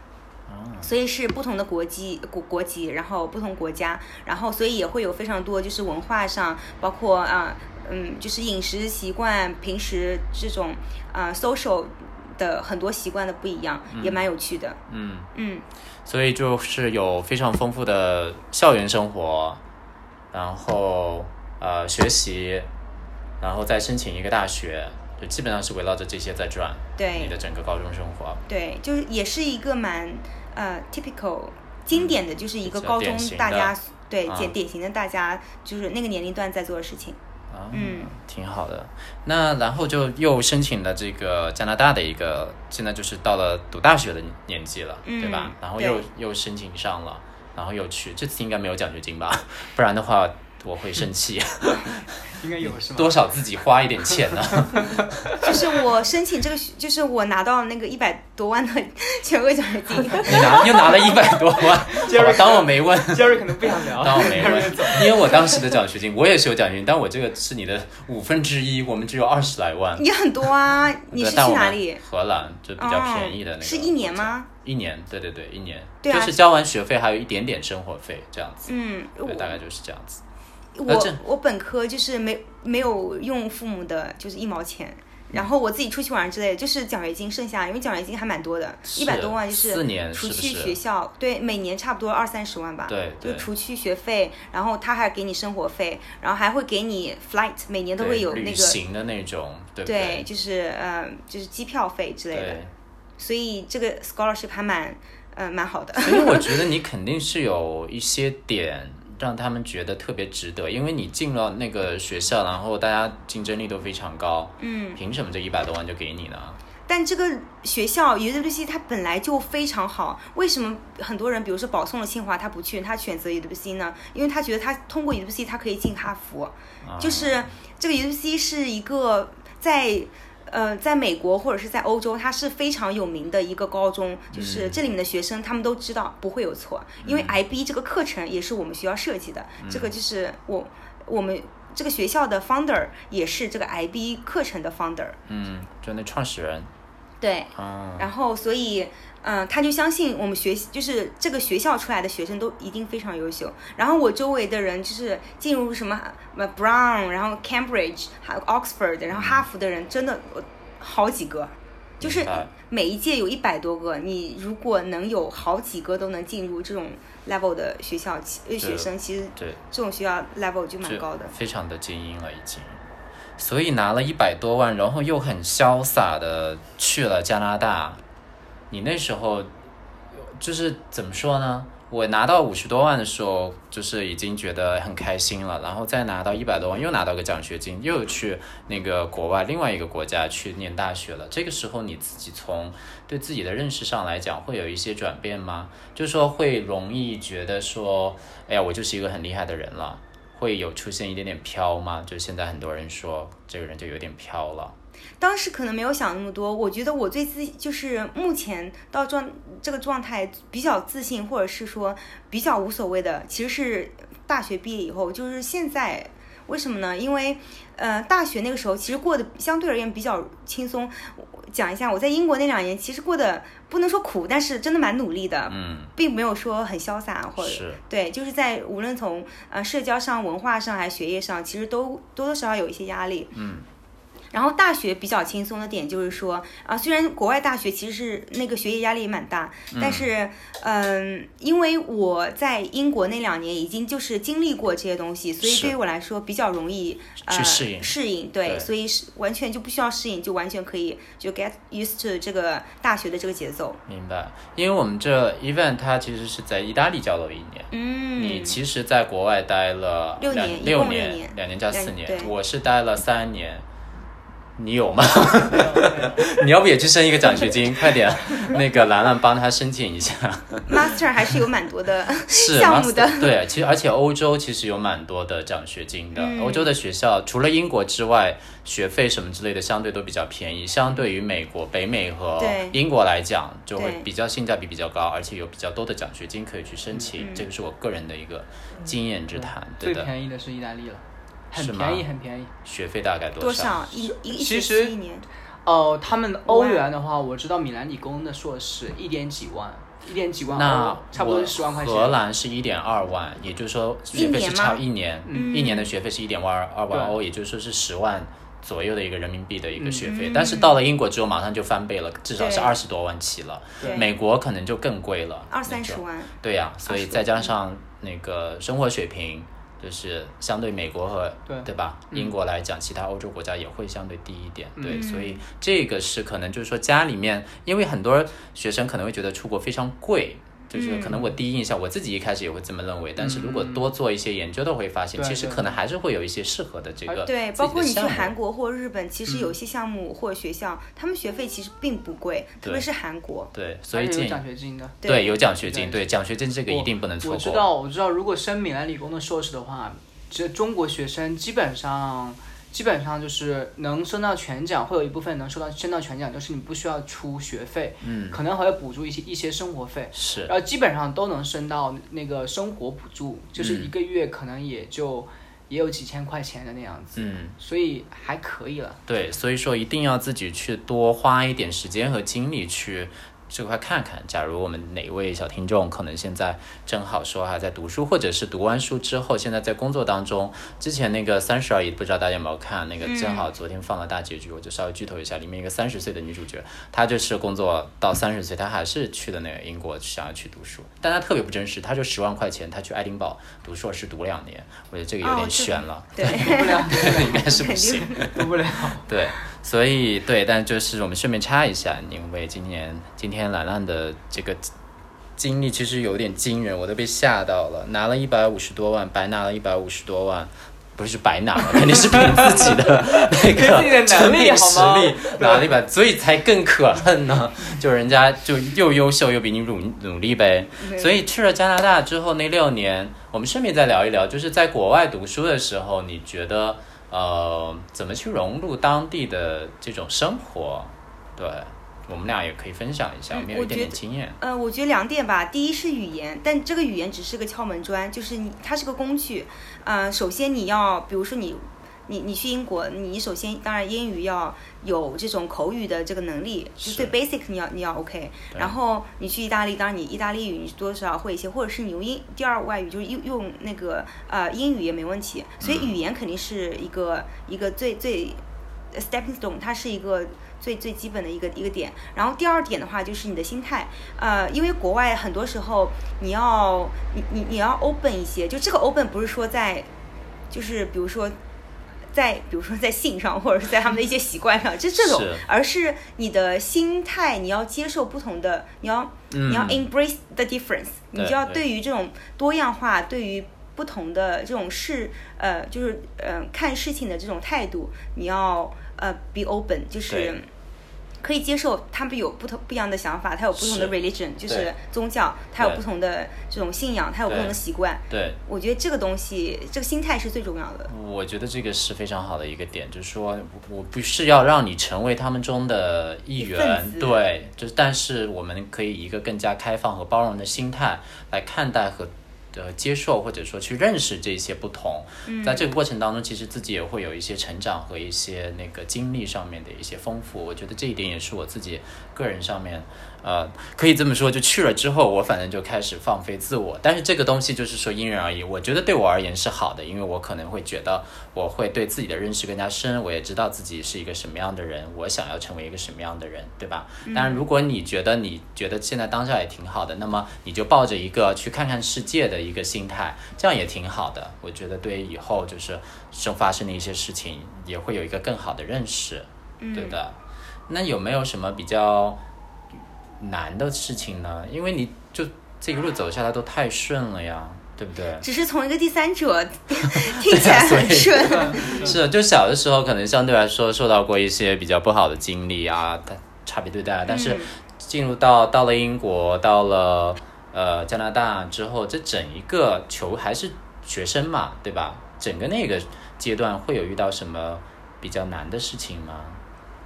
Speaker 4: 所以是不同的国籍国国籍，然后不同国家，然后所以也会有非常多就是文化上，包括啊、嗯，就是饮食习惯，平时这种啊、social 的很多习惯的不一样，也蛮有趣的。
Speaker 1: 嗯，
Speaker 4: 嗯，
Speaker 1: 所以就是有非常丰富的校园生活，然后呃学习，然后再申请一个大学，就基本上是围绕着这些在转。你
Speaker 4: 对
Speaker 1: 的整个高中生活。啊
Speaker 4: 对，就是也是一个蛮呃 typical 经典的，就是一个
Speaker 1: 嗯比较
Speaker 4: 高中
Speaker 1: 典型
Speaker 4: 大
Speaker 1: 的
Speaker 4: 家对
Speaker 1: 啊
Speaker 4: 典典型的大家就是那个年龄段在做的事情。
Speaker 1: 啊，
Speaker 4: 嗯，
Speaker 1: 挺好的。那然后就又申请了这个加拿大的一个，现在就是到了读大学的年纪了，
Speaker 4: 嗯
Speaker 1: 对吧？然后
Speaker 4: 对
Speaker 1: 又又申请上了，然后又去，这次应该没有奖学金吧？ 不然的话我会生气，
Speaker 2: 应该有是
Speaker 4: 嗯
Speaker 2: 吗？
Speaker 1: 多少自己花一点钱呢？
Speaker 4: 就是我申请这个学，就是我拿到那个一百多万的 全额奖 学金。
Speaker 1: 你拿又拿了一百多万，
Speaker 2: 杰
Speaker 1: 好
Speaker 2: 瑞
Speaker 1: 吧，当我没问。
Speaker 2: Jerry 可能不想聊，
Speaker 1: 当我没问，因为我当时的奖学金，我也是有奖学金，但我这个是你的五分之一，我们只有二十来万。
Speaker 4: 也很多啊！你是去
Speaker 1: 但我
Speaker 4: 哪
Speaker 1: 们
Speaker 4: 里？
Speaker 1: 荷兰就比较便宜的那
Speaker 4: 哦
Speaker 1: 个。
Speaker 4: 是一年吗？
Speaker 1: 一年，对对对，一年，
Speaker 4: 对啊
Speaker 1: 就是交完学费还有一点点生活费这样子，
Speaker 4: 嗯，我
Speaker 1: 对，大概就是这样子。呃这
Speaker 4: 我我本科就是没没有用父母的，就是一毛
Speaker 1: 嗯
Speaker 4: 钱。然后我自己出去玩之类的，就是奖学金剩下，因为奖学金还蛮多的，一百多万就是
Speaker 1: 四年是
Speaker 4: 除
Speaker 1: 不
Speaker 4: 去
Speaker 1: 是
Speaker 4: 学校，对，每年差不多二三十万吧。
Speaker 1: 对
Speaker 4: 就
Speaker 1: 对
Speaker 4: 除去学费，然后他还给你生活费，然后还会给你 flight，每年都
Speaker 1: 对
Speaker 4: 会有那
Speaker 1: 旅
Speaker 4: 个，
Speaker 1: 行的那种，对不
Speaker 4: 对，？就是呃，就是机票费之类的。
Speaker 1: 对，
Speaker 4: 所以这个 scholarship 还蛮，呃，蛮好的。
Speaker 1: 所以我觉得你肯定是有一些点让他们觉得特别值得，因为你进了那个学校，然后大家竞争力都非常高，嗯，凭什么这一百多万就给你呢？
Speaker 4: 但这个学校 UWC 它本来就非常好，为什么很多人比如说保送了清华他不去，他选择 UWC 呢？因为他觉得他通过 UWC 他可以进哈佛，就是这个 UWC 是一个在。呃，在美国或者是在欧洲，它是非常有名的一个高中，就是这里面的学生他们都知道不会有错，因为 IB 这个课程也是我们学校设计的，这个就是我我们这个学校的 founder 也是这个 IB 课程的 founder，
Speaker 1: 嗯，就那创始人，
Speaker 4: 对，
Speaker 1: 嗯，
Speaker 4: 然后所以，嗯、他就相信我们学习，就是这个学校出来的学生都一定非常优秀。然后我周围的人就是进入什么呃 Brown，然后 Cambridge，还有 Oxford，然后哈佛的人真的我好几个，就是
Speaker 1: 明白
Speaker 4: 每一届有一百多个，你如果能有好几个都能进入这种 level 的学校，其呃学生其实
Speaker 1: 对，
Speaker 4: 这种学校 level 就蛮
Speaker 1: 就
Speaker 4: 高的。
Speaker 1: 非常的精英了已经。所以拿了一百多万，然后又很潇洒的去了加拿大。你那时候就是怎么说呢？我拿到五十多万的时候，就是已经觉得很开心了，然后再拿到一百多万，又拿到个奖学金，又去那个国外另外一个国家去念大学了。这个时候你自己从对自己的认识上来讲，会有一些转变吗？就是说会容易觉得说，哎呀，我就是一个很厉害的人了，会有出现一点点飘吗？就现在很多人说这个人就有点飘了。
Speaker 4: 当时可能没有想那么多，我觉得我对自己就是目前到状这个状态比较自信，或者是说比较无所谓的，其实是大学毕业以后，就是现在。为什么呢？因为，呃，大学那个时候其实过得相对而言比较轻松。我讲一下，我在英国那两年其实过得不能说苦，但是真的蛮努力的，
Speaker 1: 嗯，
Speaker 4: 并没有说很潇洒或者
Speaker 1: 是
Speaker 4: 对，就是在无论从呃社交上、文化上还是学业上，其实都多多少少有一些压力。
Speaker 1: 嗯。
Speaker 4: 然后大学比较轻松的点就是说，啊，虽然国外大学其实是那个学业压力也蛮大，但是，嗯、因为我在英国那两年已经就是经历过这些东西，所以
Speaker 1: 是
Speaker 4: 对于我来说比较容易呃
Speaker 1: 去适应
Speaker 4: 适应对，
Speaker 1: 对
Speaker 4: 所以是完全就不需要适应，就完全可以就 get used to 这个大学的这个节奏。
Speaker 1: 明白。因为我们这 event 它其实是在意大利交流一年。
Speaker 4: 嗯，
Speaker 1: 你其实在国外待了
Speaker 4: 六
Speaker 1: 两
Speaker 4: 年一
Speaker 1: 六
Speaker 4: 共六
Speaker 1: 年，
Speaker 4: 年
Speaker 1: 两年加四
Speaker 4: 两
Speaker 1: 年
Speaker 4: 对，
Speaker 1: 我是待了三年。你有 吗？
Speaker 2: 没有没有
Speaker 1: 你要不也去申一个奖学金？快点，那个兰兰帮他申请一下。
Speaker 4: master 还是有蛮多的
Speaker 1: 是
Speaker 4: 项
Speaker 1: master-
Speaker 4: 目的。
Speaker 1: 对，其实而且欧洲其实有蛮多的奖学金的，
Speaker 4: 嗯
Speaker 1: 欧洲的学校除了英国之外，学费什么之类的相对都比较便宜，相对于美国、北美和
Speaker 4: 对
Speaker 1: 英国来讲，就会
Speaker 4: 对
Speaker 1: 比较性价比比较高，而且有比较多的奖学金可以去申请，
Speaker 4: 嗯
Speaker 1: 这个是我个人的一个经验之谈，啊对
Speaker 2: 最
Speaker 1: 的。
Speaker 2: 便宜的是意大利了，很
Speaker 1: 是吗
Speaker 2: 便宜，很便宜。
Speaker 1: 学费大概
Speaker 4: 多
Speaker 1: 少？
Speaker 4: 少一一个
Speaker 2: 其
Speaker 4: 学
Speaker 2: 实
Speaker 4: 期一年？
Speaker 2: 哦，他们欧元的话，我知道米兰理工的硕士一点几万，一点几万
Speaker 1: 那
Speaker 2: 欧，差不多是十万块钱。
Speaker 1: 荷兰是一点二万，也就是说学费是
Speaker 4: 一年吗
Speaker 1: 差一年，
Speaker 4: 嗯
Speaker 1: 一年的学费是一点二二
Speaker 2: 对
Speaker 1: 万欧，也就是说是十万左右的一个人民币的一个学费。
Speaker 4: 嗯
Speaker 1: 但是到了英国之后，马上就翻倍了，至少是
Speaker 4: 对
Speaker 1: 二十多万起了。
Speaker 4: 对
Speaker 1: 美国可能就更贵了，
Speaker 4: 二三十嗯
Speaker 1: 那种。
Speaker 4: 万。
Speaker 1: 对呀、所以再加上那个生活水平。就是相对美国和
Speaker 2: 对
Speaker 1: 吧，
Speaker 2: 嗯
Speaker 1: 英国来讲，其他欧洲国家也会相对低一点，对，
Speaker 4: 嗯
Speaker 1: 所以这个是可能就是说家里面，因为很多学生可能会觉得出国非常贵，就是
Speaker 4: 嗯
Speaker 1: 可能我第一印象我自己一开始也会这么认为，但是如果多做一些研究的会发现，
Speaker 2: 对
Speaker 1: 其实
Speaker 2: 对
Speaker 1: 可能还是会有一些适合的这个自
Speaker 4: 对，
Speaker 1: 己
Speaker 4: 包
Speaker 1: 的
Speaker 4: 括你去
Speaker 1: 项目嗯
Speaker 4: 韩国或日本，其实有些项目或学校，他们学费其实并不贵，特别
Speaker 1: 对
Speaker 4: 是韩国。
Speaker 1: 对，所
Speaker 2: 而
Speaker 1: 以
Speaker 2: 且
Speaker 1: 建
Speaker 2: 有
Speaker 1: 议
Speaker 2: 奖学金的。
Speaker 4: 对
Speaker 1: 有奖学金，
Speaker 2: 对
Speaker 1: 对奖学金这个一定不能错
Speaker 2: 我知
Speaker 1: 过，
Speaker 2: 道，我知道，如果升米兰理工的硕士的话，这中国学生基本上基本上就是能升到全奖，会有一部分能升到升到全奖，就是你不需要出学费，嗯，可能还要补助一些一些生活费。
Speaker 1: 是
Speaker 2: 然后呃基本上都能升到那个生活补助，
Speaker 1: 嗯
Speaker 2: 就是一个月可能也就、也有几千块钱的那样子，
Speaker 1: 嗯。
Speaker 2: 所以还 可以了。
Speaker 1: 对，所以说一定要自己去多花一点时间和精力去这块看看。假如我们哪位小听众可能现在正好说还在读书，或者是读完书之后现在在工作当中，之前那个《三十而已》，不知道大家有没有看？那个正好昨天放了大结局，我就稍微剧透一下，里面一个三十岁的女主角，她就是工作到三十岁，她还是去的那个英国，想要去读书，但她特别不真实，她就十万块钱，她去爱丁堡读硕士读两年，我觉得这个有
Speaker 4: 哦
Speaker 1: 点
Speaker 4: 这个
Speaker 1: 悬了，
Speaker 4: 对，
Speaker 2: 读不了，
Speaker 1: 应该是不
Speaker 4: 肯定
Speaker 1: 行。
Speaker 2: 读不了。
Speaker 1: 对，所以对，但就是我们顺便插一下，因为今年今天兰兰的这个经历其实有点惊人，我都被吓到了，拿了一百五十多万，白拿了一百五十多万。不是白拿了，肯定是凭自己的那
Speaker 2: 凭自己的
Speaker 1: 个
Speaker 2: 能
Speaker 1: 成
Speaker 2: 力
Speaker 1: 品实
Speaker 2: 好吗
Speaker 1: 力拿了一百，所以才更可恨呢。就人家就又优秀又比你努努力呗。所以去了加拿大之后那六年，我们顺便再聊一聊，就是在国外读书的时候，你觉得呃，怎么去融入当地的这种生活？对，我们俩也可以分享一下，
Speaker 4: 嗯
Speaker 1: 我们有一点
Speaker 4: 我觉
Speaker 1: 点
Speaker 4: 得
Speaker 1: 经验。
Speaker 4: 呃，我觉得两点吧。第一是语言，但这个语言只是个敲门砖，就是你它是个工具。呃，首先你要，比如说你。你你去英国，你首先当然英语要有这种口语的这个能力，就是最 basic 你要你要 OK。
Speaker 1: 对
Speaker 4: 然后你去意大利，当然你意大利语你多少会一些，或者是你用英第二外语，就是用用那个呃英语也没问题。所以语言肯定是一个、一个最最 stepping stone，它是一个最最基本的一个一个点。然后第二点的话就是你的心态，呃，因为国外很多时候你要你你你要 open 一些，就这个 open 不是说在，就是比如说。在比如说在性上，或者是在他们的一些习惯上，就这种
Speaker 1: 是，
Speaker 4: 而是你的心态，你要接受不同的，你要
Speaker 1: 嗯，
Speaker 4: 你要 embrace the difference，你
Speaker 1: 对
Speaker 4: 就要
Speaker 1: 对
Speaker 4: 对于这种多样化，对于不同的这种事，呃，就是呃看事情的这种态度，你要呃 be open，就是
Speaker 1: 对
Speaker 4: 可以接受他们有不同不一样的想法，他有不同的
Speaker 1: 是
Speaker 4: religion，就是
Speaker 1: 对
Speaker 4: 宗教，他有
Speaker 1: 对
Speaker 4: 不同的这种信仰，他有不同的
Speaker 1: 对
Speaker 4: 习惯。
Speaker 1: 对，
Speaker 4: 我觉得这个东西，这个心态是最重要的。
Speaker 1: 我觉得这个是非常好的一个点，就是说我不是要让你成为他们中的一员
Speaker 4: 一份子，
Speaker 1: 对，就是但是我们可以以一个更加开放和包容的心态来看待和。呃，接受或者说去认识这些不同，
Speaker 4: 嗯
Speaker 1: 在这个过程当中，其实自己也会有一些成长和一些那个经历上面的一些丰富。我觉得这一点也是我自己个人上面，呃，可以这么说，就去了之后，我反正就开始放飞自我。但是这个东西就是说因人而异，我觉得对我而言是好的，因为我可能会觉得我会对自己的认识更加深，我也知道自己是一个什么样的人，我想要成为一个什么样的人，对吧？当然，如果你觉得你觉得现在当下也挺好的，那么你就抱着一个去看看世界的一个心态，这样也挺好的。我觉得对于以后就是生发生的一些事情，也会有一个更好的认识，对的。那有没有什么比较难的事情呢？因为你就这一路走下来都太顺了呀，对不对？
Speaker 4: 只是从一个第三者 听起来
Speaker 1: 所以
Speaker 4: 很顺，
Speaker 1: 嗯是，就小的时候可能相对来说受到过一些比较不好的经历啊，但差别对待啊，但
Speaker 4: 嗯
Speaker 1: 是进入到到了英国，到了呃加拿大之后，这整一个球还是学生嘛，对吧？整个那个阶段会有遇到什么比较难的事情吗？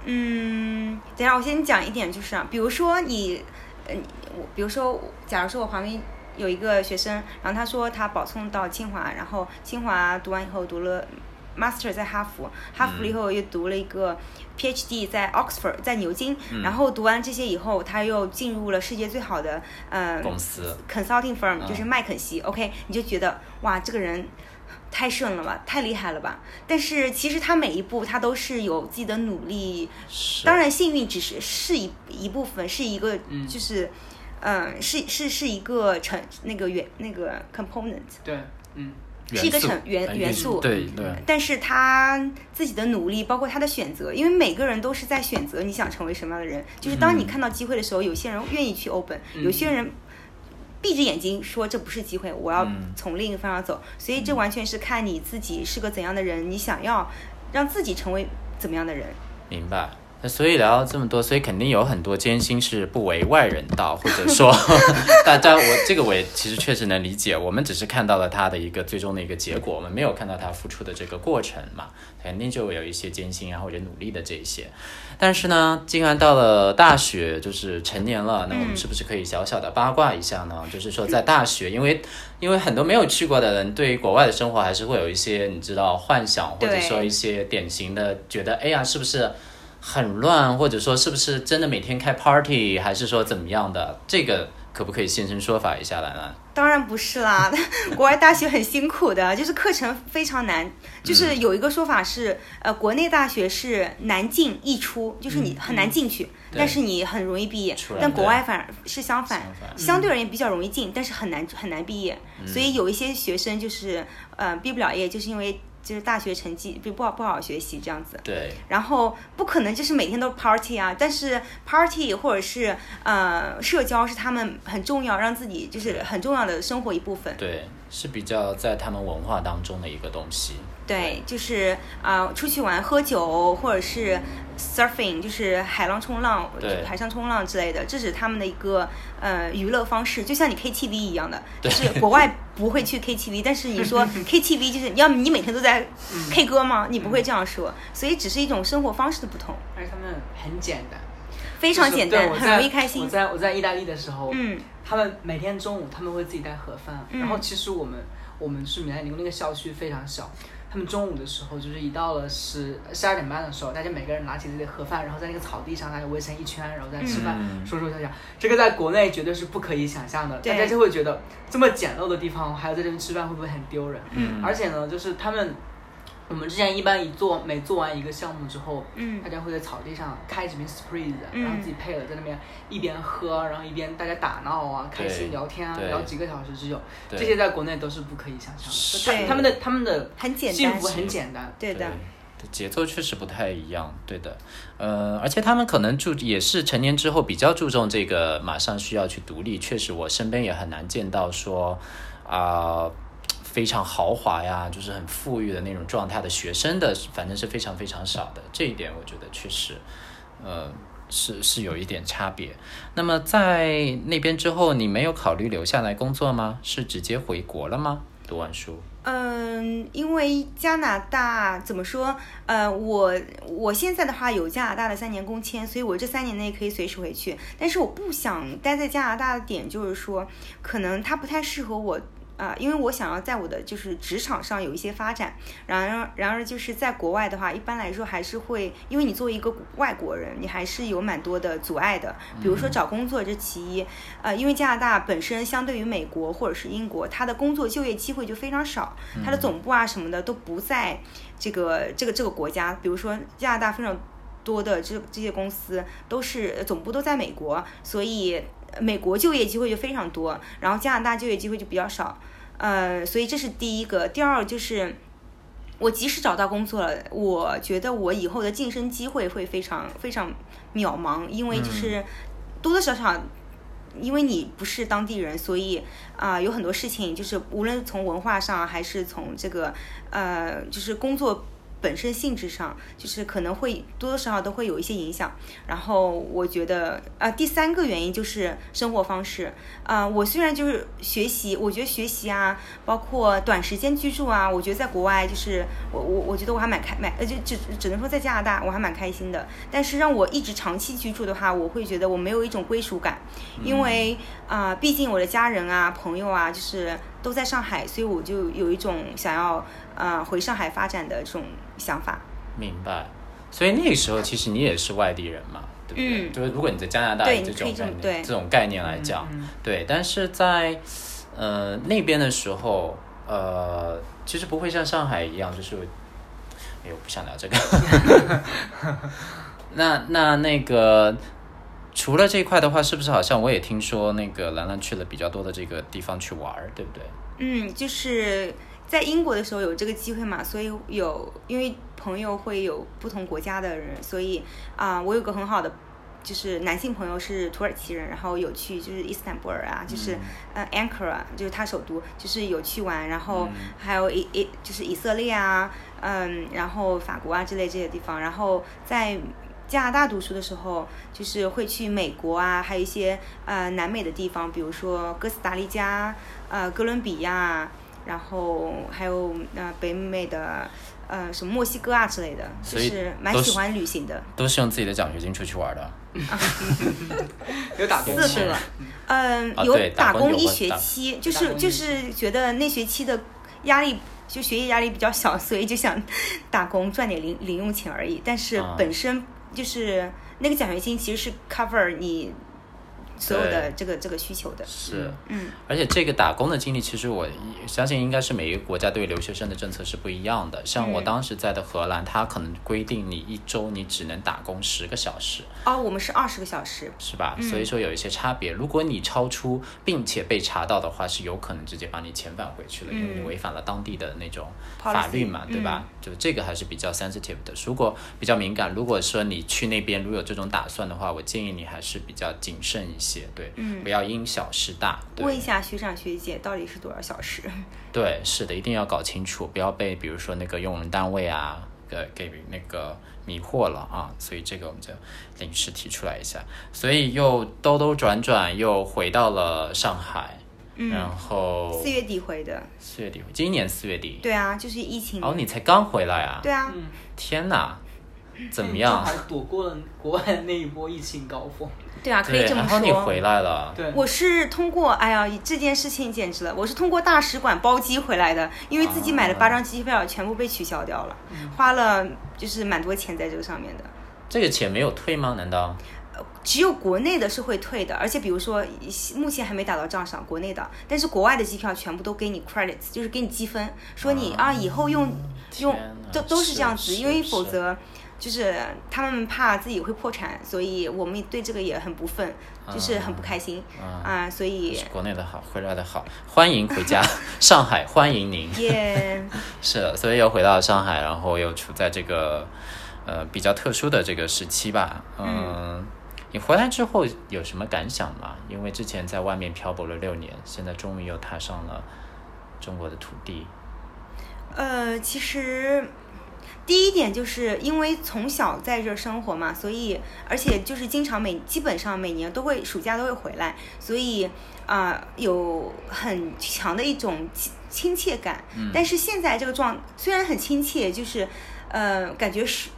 Speaker 4: 嗯，等一下我先讲一点，就是啊，比如说你，呃，你我比如说我，假如说我旁边有一个学生，然后他说他保送到清华，然后清华读完以后读了嗯 master 在哈佛，哈佛了以后又读了一个 PhD 在 Oxford 在牛津，
Speaker 1: 嗯
Speaker 4: 然后读完这些以后，他又进入了世界最好的呃
Speaker 1: 公司
Speaker 4: consulting firm，
Speaker 1: 嗯
Speaker 4: 就是麦肯锡、o k 你就觉得哇，这个人太顺了吧，太厉害了吧。但是其实他每一步他都是有自己的努力，
Speaker 1: 是，
Speaker 4: 当然幸运只是是一一部分，是一个
Speaker 2: 嗯
Speaker 4: 就是，嗯、是是是一个成那个元那个 component，
Speaker 2: 对，嗯，
Speaker 1: 元
Speaker 4: 是一个
Speaker 1: 素
Speaker 4: 成元
Speaker 1: 呃
Speaker 4: 元素
Speaker 1: 对对
Speaker 4: 但是他自己的努力，包括他的选择，因为每个人都是在选择你想成为什么样的人。就是当
Speaker 1: 嗯
Speaker 4: 你看到机会的时候，有些人愿意去 open，、
Speaker 2: 嗯
Speaker 4: 有些人闭着眼睛说这不是机会，我要
Speaker 1: 嗯
Speaker 4: 从另一个方向走。所以这完全是看你自己是个怎样的人，你想要让自己成为怎么样的人。
Speaker 1: 明白。那所以聊了这么多，所以肯定有很多艰辛是不为外人道，或者说 大家我这个我也其实确实能理解，我们只是看到了他的一个最终的一个结果，我们没有看到他付出的这个过程嘛，肯定就有一些艰辛啊或者努力的这一些。但是呢，既然到了大学，就是成年了，那我们是不是可以小小的八卦一下呢？就是说在大学，因为因为很多没有去过的人，对于国外的生活还是会有一些你知道幻想，或者
Speaker 4: 对
Speaker 1: 说一些典型的觉得，哎呀，是不是很乱，或者说是不是真的每天开 party，还是说怎么样的？这个可不可以现身说法一下来呢？
Speaker 4: 当然不是 啦，国外大学很辛苦的，就是课程非常难。就是
Speaker 1: 嗯
Speaker 4: 有一个说法是，呃，国内大学是难进易出，就是你很难进去，
Speaker 1: 嗯对
Speaker 4: 但是你很容易毕业
Speaker 1: 出来。
Speaker 4: 但国外反而是相反，
Speaker 1: 相反嗯
Speaker 4: 相对而言比较容易进，但是很难很难毕业。所以有一些学生就是呃毕不了业，就是因为就是大学成绩不不好不好学习这样子。
Speaker 1: 对，
Speaker 4: 然后不可能就是每天都 party 啊，但是 party 或者是呃社交是他们很重要，让自己就是很重要的生活一部分。
Speaker 1: 对，是比较在他们文化当中的一个东西。
Speaker 4: 对，就是啊、呃出去玩喝酒或者是 surfing，就是海浪冲浪、
Speaker 1: 对
Speaker 4: 海上冲浪之类的，这是他们的一个呃娱乐方式，就像你 KTV 一样的，就是国外不会去 KTV，但是你 说 KTV 就是要么你每天都在
Speaker 2: 嗯
Speaker 4: K 歌吗？你不会这样说，所以只是一种生活方式的不同，
Speaker 2: 而且他们很简单，
Speaker 4: 非常简单，
Speaker 2: 就是对我
Speaker 4: 很容
Speaker 2: 在
Speaker 4: 易开
Speaker 2: 我
Speaker 4: 心。
Speaker 2: 在我在意大利的时候，
Speaker 4: 嗯，
Speaker 2: 他们每天中午他们会自己带盒饭，
Speaker 4: 嗯
Speaker 2: 然后其实我们我们是米兰理工那个校区非常小，他们中午的时候就是一到了十十二点半的时候，大家每个人拿起自己的盒饭，然后在那个草地上大家围成一圈，然后在吃饭，
Speaker 1: 嗯
Speaker 2: 说说笑笑，这个在国内绝对是不可以想象的，
Speaker 4: 对
Speaker 2: 大家就会觉得这么简陋的地方还要在这边吃饭会不会很丢人？嗯，而且呢，就是他们。我们之前一般一做每做完一个项目之后，
Speaker 4: 嗯
Speaker 2: 大家会在草地上开几瓶 Spritz，、
Speaker 4: 嗯
Speaker 2: 然后自己配了，在那边一边喝，然后一边大家打闹啊，开心聊天啊，
Speaker 1: 对
Speaker 2: 聊几个小时之久，这
Speaker 1: 对
Speaker 2: 些在国内都是不可以想象的。
Speaker 1: 是
Speaker 2: 他他们的他们的
Speaker 4: 很简单
Speaker 2: 幸福很简单，
Speaker 4: 对的，
Speaker 1: 对节奏确实不太一样，对的，呃，而且他们可能注也是成年之后比较注重这个，马上需要去独立。确实，我身边也很难见到说啊、非常豪华呀，就是很富裕的那种状态的学生的，反正是非常非常少的。这一点我觉得确实，呃，是是有一点差别。那么在那边之后，你没有考虑留下来工作吗？是直接回国了吗？读完书，
Speaker 4: 嗯，因为加拿大怎么说？呃，我我现在的话有加拿大的三年工签，所以我这三年内可以随时回去。但是我不想待在加拿大的点就是说，可能它不太适合我啊、因为我想要在我的就是职场上有一些发展。然而，然而就是在国外的话，一般来说还是会，因为你作为一个外国人，你还是有蛮多的阻碍的。比如说找工作这其一，呃，因为加拿大本身相对于美国或者是英国，它的工作就业机会就非常少，它的总部啊什么的都不在这个这个这个国家。比如说加拿大非常多的这这些公司都是呃总部都在美国，所以呃美国就业机会就非常多，然后加拿大就业机会就比较少。呃，所以这是第一个，第二就是。我即使找到工作了，我觉得我以后的晋升机会会非常非常渺茫，因为就是多多少少，因为你不是当地人，所以啊、有很多事情就是无论从文化上还是从这个呃，就是工作本身性质上，就是可能会多多少少都会有一些影响。然后我觉得啊、第三个原因就是生活方式啊、我虽然就是学习，我觉得学习啊，包括短时间居住啊，我觉得在国外就是我我我觉得我还蛮开蛮呃就只只能说在加拿大我还蛮开心的。但是让我一直长期居住的话，我会觉得我没有一种归属感，因为啊、毕竟我的家人啊、朋友啊，就是都在上海，所以我就有一种想要呃回上海发展的这种想法。
Speaker 1: 明白。所以那个时候其实你也是外地人嘛，对不对？
Speaker 4: 嗯
Speaker 1: 就是如果你在加拿大
Speaker 4: 对
Speaker 1: 以这
Speaker 4: 你可
Speaker 1: 种
Speaker 4: 以这
Speaker 1: 概
Speaker 4: 么
Speaker 1: 念
Speaker 4: 对
Speaker 1: 这种概念来讲，
Speaker 2: 嗯嗯
Speaker 1: 对，但是在呃那边的时候，呃，其实不会像上海一样，就是，哎呦，我不想聊这个。 那那那个，除了这一块的话，是不是好像我也听说那个兰兰去了比较多的这个地方去玩儿，对不对？
Speaker 4: 嗯，就是在英国的时候有这个机会嘛，所以有因为朋友会有不同国家的人，所以啊、我有个很好的就是男性朋友是土耳其人，然后有去就是伊斯坦布尔啊，就是、
Speaker 1: 嗯
Speaker 4: 呃 Ankara 就是他首都，就是有去玩，然后还有以以就是以色列啊，嗯，然后法国啊之类这些地方，然后在。加拿大读书的时候，就是会去美国啊，还有一些呃南美的地方，比如说哥斯达黎加、呃哥伦比亚，然后还有呃北美的呃什么墨西哥啊之类的，就
Speaker 1: 所以
Speaker 4: 是蛮
Speaker 1: 都
Speaker 4: 喜
Speaker 1: 是
Speaker 4: 欢旅行的。
Speaker 1: 都是用自己的奖学金出去玩儿的。
Speaker 2: 有打工
Speaker 4: 四
Speaker 2: 吗
Speaker 4: 个了，嗯，
Speaker 1: 啊
Speaker 4: 有
Speaker 1: 对打
Speaker 4: 打
Speaker 1: 工
Speaker 4: 工
Speaker 1: 有
Speaker 4: 一
Speaker 1: 过
Speaker 4: 学
Speaker 1: 打
Speaker 4: 期，就
Speaker 2: 打
Speaker 4: 是
Speaker 2: 工
Speaker 4: 就
Speaker 2: 一
Speaker 4: 是觉得那学期的压力就学业压力比较小，所以就想打工赚点零零用钱而已。但是
Speaker 1: 啊
Speaker 4: 本身就是那个奖学金其实是 cover 你所有的
Speaker 1: 对
Speaker 4: 这个这个需求的。
Speaker 1: 是，
Speaker 4: 嗯，
Speaker 1: 而且这个打工的经历，其实我相信应该是每个国家对留学生的政策是不一样的。像我
Speaker 4: 嗯
Speaker 1: 当时在的荷兰，它可能规定你一周你只能打工十个小时，
Speaker 4: 哦，我们是二十个小时。
Speaker 1: 是吧？所以说有一些差别。如果你超出并且被查到的话，是有可能直接把你遣返回去了，因为你
Speaker 4: 嗯
Speaker 1: 违反了当地的那种法律嘛，
Speaker 4: Policy，嗯
Speaker 1: 对吧？就这个还是比较 sensitive 的。如果比较敏感，如果说你去那边如果有这种打算的话，我建议你还是比较谨慎一些，对，
Speaker 4: 嗯
Speaker 1: 不要因小失大。对
Speaker 4: 问一下学长学姐到底是多少小时？
Speaker 1: 对，是的，一定要搞清楚，不要被比如说那个用人单位啊，给给那个迷惑了啊。所以这个我们就临时提出来一下。所以又兜兜转转又回到了上海，然后
Speaker 4: 嗯 四月底回的。
Speaker 1: 四月底，今年四月底，
Speaker 4: 对啊，就是疫情。
Speaker 1: 哦，你才刚回来啊？
Speaker 4: 对嗯啊，
Speaker 1: 天哪，怎么
Speaker 2: 上
Speaker 1: 样？
Speaker 2: 海躲过了国外的那一波疫情高峰。
Speaker 4: 对啊，可以
Speaker 1: 对，
Speaker 4: 这么
Speaker 1: 然
Speaker 4: 说。
Speaker 1: 后你回来了，
Speaker 2: 对，
Speaker 4: 我是通过，哎呀，这件事情简直了！我是通过大使馆包机回来的，因为自己买的八张机票全部被取消掉了，
Speaker 1: 嗯
Speaker 4: 花了就是蛮多钱在这个上面的。
Speaker 1: 这个钱没有退吗？难道？
Speaker 4: 只有国内的是会退的，而且比如说西目前还没打到账上，国内的，但是国外的机票全部都给你 credits，就是给你积分，说你啊以后用用
Speaker 1: 嗯天哪
Speaker 4: 都都是这样
Speaker 1: 是
Speaker 4: 子，因为
Speaker 1: 是
Speaker 4: 否则就是他们怕自己会破产，所以我们对这个也很不忿，就是很不开心
Speaker 1: 啊
Speaker 4: 啊、所以
Speaker 1: 是国内的好，回来的好，欢迎回 家，上海欢迎您。
Speaker 4: 也
Speaker 1: 是的，所以又回到上海，然后又处在这个呃比较特殊的这个时期吧。嗯，你回来之后有什么感想吗？因为之前在外面漂泊了六年，现在终于又踏上了中国的土地。
Speaker 4: 呃，其实第一点就是因为从小在这儿生活嘛，所以而且就是经常每基本上每年都会暑假都会回来，所以啊、有很强的一种亲亲切感。但是现在这个状虽然很亲切，就是呃感觉是。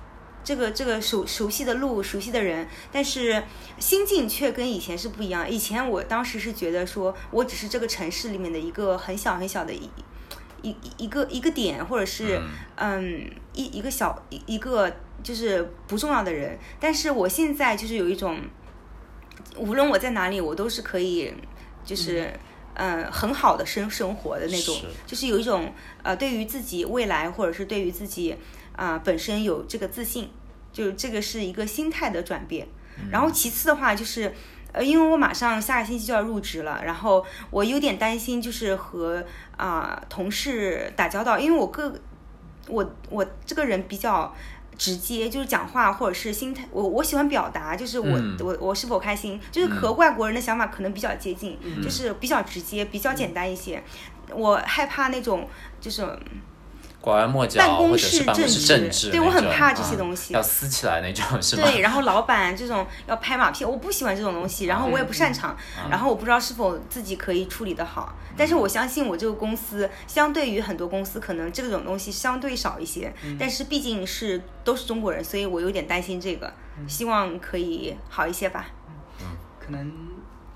Speaker 4: 这个这个熟熟悉的路，熟悉的人，但是心境却跟以前是不一样。以前我当时是觉得说，我只是这个城市里面的一个很小很小的一一一一个一个点，或者是嗯一一个小一一个就是不重要的人。但是我现在就是有一种，无论我在哪里，我都是可以就是。嗯很好的生生活的那种，
Speaker 1: 是
Speaker 4: 就是有一种呃，对于自己未来或者是对于自己啊、本身有这个自信，就这个是一个心态的转变。然后其次的话就是，呃，因为我马上下个星期就要入职了，然后我有点担心，就是和啊、同事打交道，因为我个我我这个人比较。直接就是讲话，或者是心态，我我喜欢表达，就是我、
Speaker 1: 嗯
Speaker 4: 我我是否开心，就是和外国人的想法可能比较接近，就是比较直接，比较简单一些。我害怕那种就是
Speaker 1: 拐弯抹角，
Speaker 4: 办公
Speaker 1: 或者是
Speaker 4: 室
Speaker 1: 办公
Speaker 4: 政
Speaker 1: 室
Speaker 4: 治
Speaker 1: 政治那
Speaker 4: 对
Speaker 1: 种，
Speaker 4: 我很怕这
Speaker 1: 啊
Speaker 4: 些东西
Speaker 1: 要撕起来那种是 吗？
Speaker 4: 对，然后老板这种要拍马屁，我不喜欢这种东西，然后我也不擅长，
Speaker 1: 嗯
Speaker 4: 然后我不知道是否自己可以处理得好。但是我相信我这个公司，相对于很多公司，可能这种东西相对少一些。
Speaker 1: 嗯
Speaker 4: 但是毕竟是都是中国人，所以我有点担心这个，
Speaker 1: 嗯
Speaker 4: 希望可以好一些吧。
Speaker 2: 可能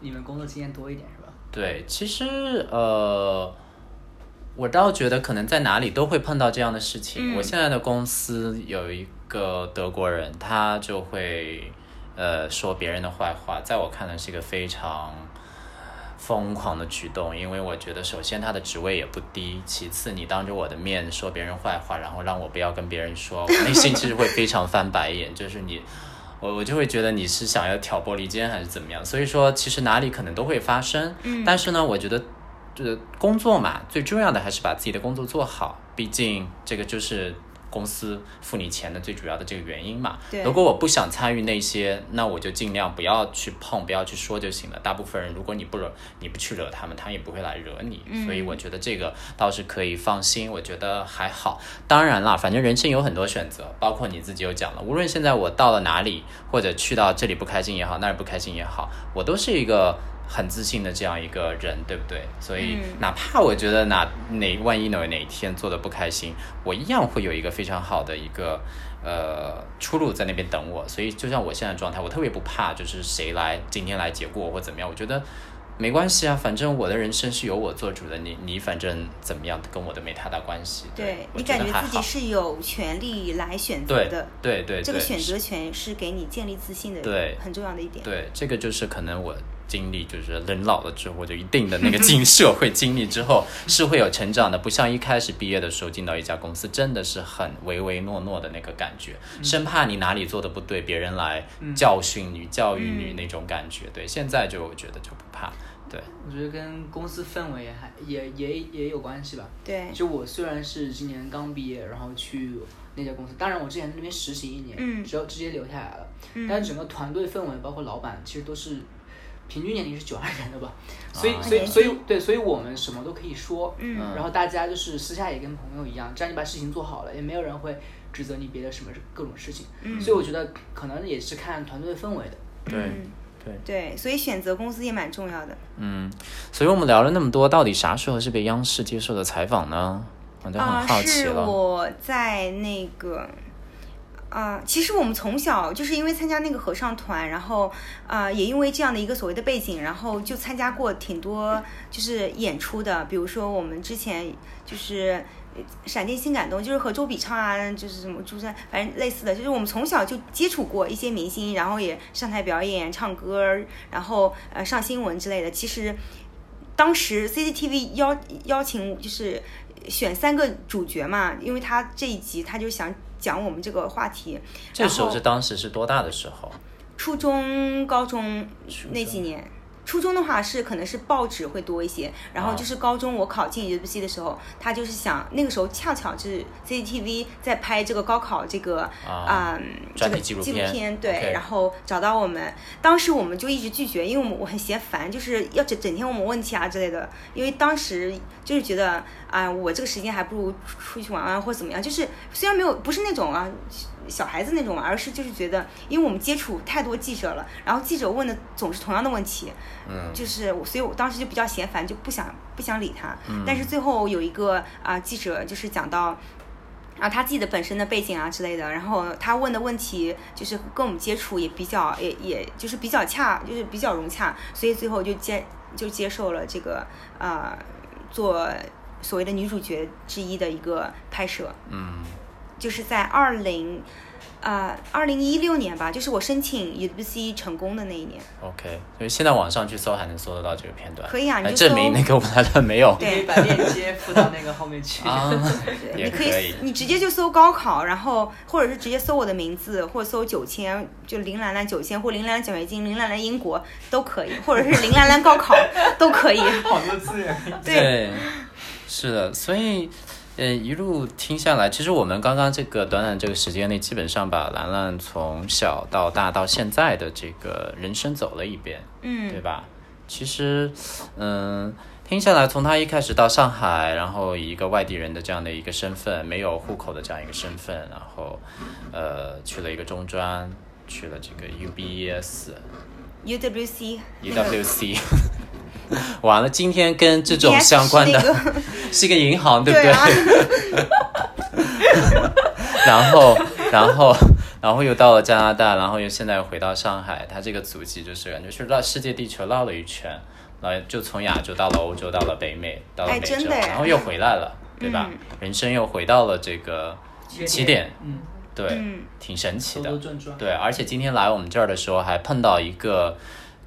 Speaker 2: 你们工作经验多一点是吧？
Speaker 1: 对，其实呃，我倒觉得可能在哪里都会碰到这样的事情。我现在的公司有一个德国人，他就会呃说别人的坏话，在我看来是一个非常。疯狂的举动，因为我觉得首先他的职位也不低，其次你当着我的面说别人坏话，然后让我不要跟别人说，我内心其实会非常翻白眼，就是你我我就会觉得你是想要挑拨离间还是怎么样，所以说其实哪里可能都会发生，但是呢，我觉得这工作嘛，最重要的还是把自己的工作做好，毕竟这个就是公司付你钱的最主要的这个原因嘛。
Speaker 4: 对
Speaker 1: 如果我不想参与那些，那我就尽量不要去碰，不要去说就行了。大部分人，如果你不惹，你不去惹他们，他们也不会来惹你。所以我觉得这个倒是可以放心，我觉得还好。当然啦，反正人生有很多选择，包括你自己有讲了，无论现在我到了哪里，或者去到这里不开心也好，那里不开心也好，我都是一个。很自信的这样一个人，对不对？所以哪怕我觉得哪哪万一哪哪一天做的不开心，我一样会有一个非常好的一个呃出路在那边等我。所以就像我现在的状态，我特别不怕，就是谁来今天来解雇我或怎么样，我觉得。没关系啊，反正我的人生是由我做主的，你你反正怎么样跟我都没太大关系。
Speaker 4: 对
Speaker 1: 我
Speaker 4: 你
Speaker 1: 觉
Speaker 4: 感
Speaker 1: 得
Speaker 4: 觉
Speaker 1: 还
Speaker 4: 自己
Speaker 1: 好。
Speaker 4: 是有权利来选择
Speaker 1: 对
Speaker 4: 的，
Speaker 1: 对对，
Speaker 4: 这个
Speaker 1: 对
Speaker 4: 选择权是给你建立自信的，
Speaker 1: 对
Speaker 4: 很重要的一点。
Speaker 1: 对，这个就是可能我经历，就是人老了之后，就一定的那个经社会经历之 后，是会有成长的，不像一开始毕业的时候进到一家公司，真的是很唯唯诺诺的那个感觉，
Speaker 4: 嗯
Speaker 1: 生怕你哪里做的不对，别人来教训你、教育
Speaker 4: 嗯
Speaker 1: 你那种感觉。对，现在就我觉得就不怕。对，
Speaker 2: 我觉得跟公司氛围也还也也也有关系吧。
Speaker 4: 对
Speaker 2: 就我虽然是今年刚毕业，然后去那家公司，当然我之前在那边实习一年，
Speaker 4: 嗯
Speaker 2: 之后直接留下来了。但是整个团队氛围，包括老板，其实都是平均年龄是九二年的吧，所以、
Speaker 1: 啊
Speaker 2: 所以所以对，所以我们什么都可以说，
Speaker 4: 嗯
Speaker 2: 然后大家就是私下也跟朋友一样，只要你把事情做好了，也没有人会指责你别的什么各种事情。
Speaker 4: 嗯
Speaker 2: 所以我觉得可能也是看团队氛围的。
Speaker 1: 对，对。
Speaker 4: 对，所以选择公司也蛮重要的。
Speaker 1: 嗯，所以我们聊了那么多，到底啥时候是被央视接受的采访呢？我都
Speaker 4: 啊，
Speaker 1: 很好奇
Speaker 4: 是
Speaker 1: 了。
Speaker 4: 我在那个。啊、其实我们从小就是因为参加那个合唱团，然后啊、也因为这样的一个所谓的背景，然后就参加过挺多就是演出的，比如说我们之前就是呃《闪电新感动》，就是和周笔畅啊，就是什么朱珊，反正类似的，就是我们从小就接触过一些明星，然后也上台表演、唱歌，然后呃上新闻之类的。其实当时 CCTV 邀邀请就是选三个主角嘛，因为他这一集他就想讲我们这个话题。
Speaker 1: 这时候是当时是多大的时候？
Speaker 4: 初中、高中
Speaker 1: 初
Speaker 4: 那
Speaker 1: 中
Speaker 4: 几年。初中的话是可能是报纸会多一些，然后
Speaker 1: 啊
Speaker 4: 就是高中我考进 UBC 的时候，他就是想那个时候恰巧就是 CCTV 在拍这个高考这个
Speaker 1: 啊，
Speaker 4: 嗯，这
Speaker 1: 专
Speaker 4: 个
Speaker 1: 题纪录
Speaker 4: 纪录
Speaker 1: 片
Speaker 4: 片对
Speaker 1: OK
Speaker 4: 然后找到我们，当时我们就一直拒绝，因为我们我很嫌烦，就是要整整天问我们问题啊之类的，因为当时就是觉得啊、我这个时间还不如出去玩玩或怎么样，就是虽然没有不是那种啊小孩子那种，而是就是觉得，因为我们接触太多记者了，然后记者问的总是同样的问题，
Speaker 1: 嗯，
Speaker 4: 就是我，所以我当时就比较嫌烦，就不想不想理他。
Speaker 1: 嗯
Speaker 4: 但是最后有一个啊、记者就是讲到。啊，他自己的本身的背景啊之类的，然后他问的问题就是跟我们接触也比较，也也就是比较恰，就是比较融洽，所以最后就接就接受了这个啊、做所谓的女主角之一的一个拍摄。
Speaker 1: 嗯，
Speaker 4: 就是在二零，呃，二零一六年吧，就是我申请 UBC 成功的那一年。
Speaker 1: OK，所以现在网上去搜还能搜得到这个片段，
Speaker 4: 可以啊你
Speaker 1: 来
Speaker 4: 就
Speaker 1: 证明
Speaker 4: 搜
Speaker 1: 那个我们来的没有
Speaker 2: 你可以
Speaker 4: 对
Speaker 2: 把链接附到那个后面去。
Speaker 1: 啊，
Speaker 4: 对，
Speaker 1: 也
Speaker 4: 你可
Speaker 1: 可以
Speaker 4: 以，你直接就搜高考，然后或者是直接搜我的名字，或者搜九千，就林兰兰九千，或林兰兰奖学金，林兰兰英国都可以，或者是林兰兰高考都可以。
Speaker 2: 好多资源。
Speaker 4: 对，
Speaker 1: 是的，所以。呃，一路听下来，其实我们刚刚这个短短这个时间内，基本上把兰兰从小到大到现在的这个人生走了一遍。对
Speaker 4: 嗯，
Speaker 1: 吧？其实，嗯，听下来，从他一开始到上海，然后以一个外地人的这样的一个身份，没有户口的这样一个身份，然后，呃，去了一个中专，去了这个 E UBS、
Speaker 4: ，UWC 那个
Speaker 1: EWC，完了，今天跟 这种
Speaker 4: BS
Speaker 1: 相关的
Speaker 4: 是，E 那个
Speaker 1: 是一个银 行，对不
Speaker 4: 对啊，
Speaker 1: 然后，然后，然后又到了加拿大，然后又现在回到上海，他这个足迹就是感觉去绕世界地球绕了一圈，然后就从亚洲到了欧洲，到了北美，到了
Speaker 4: 哎
Speaker 1: 美洲，
Speaker 4: 真的哎
Speaker 1: 然后又回来了，对吧？人生又回到了这个起点，
Speaker 2: 嗯，
Speaker 1: 对，
Speaker 4: 嗯
Speaker 1: 挺神奇
Speaker 2: 兜
Speaker 1: 的
Speaker 2: 兜。转转。
Speaker 1: 对，而且今天来我们这儿的时候，还碰到一个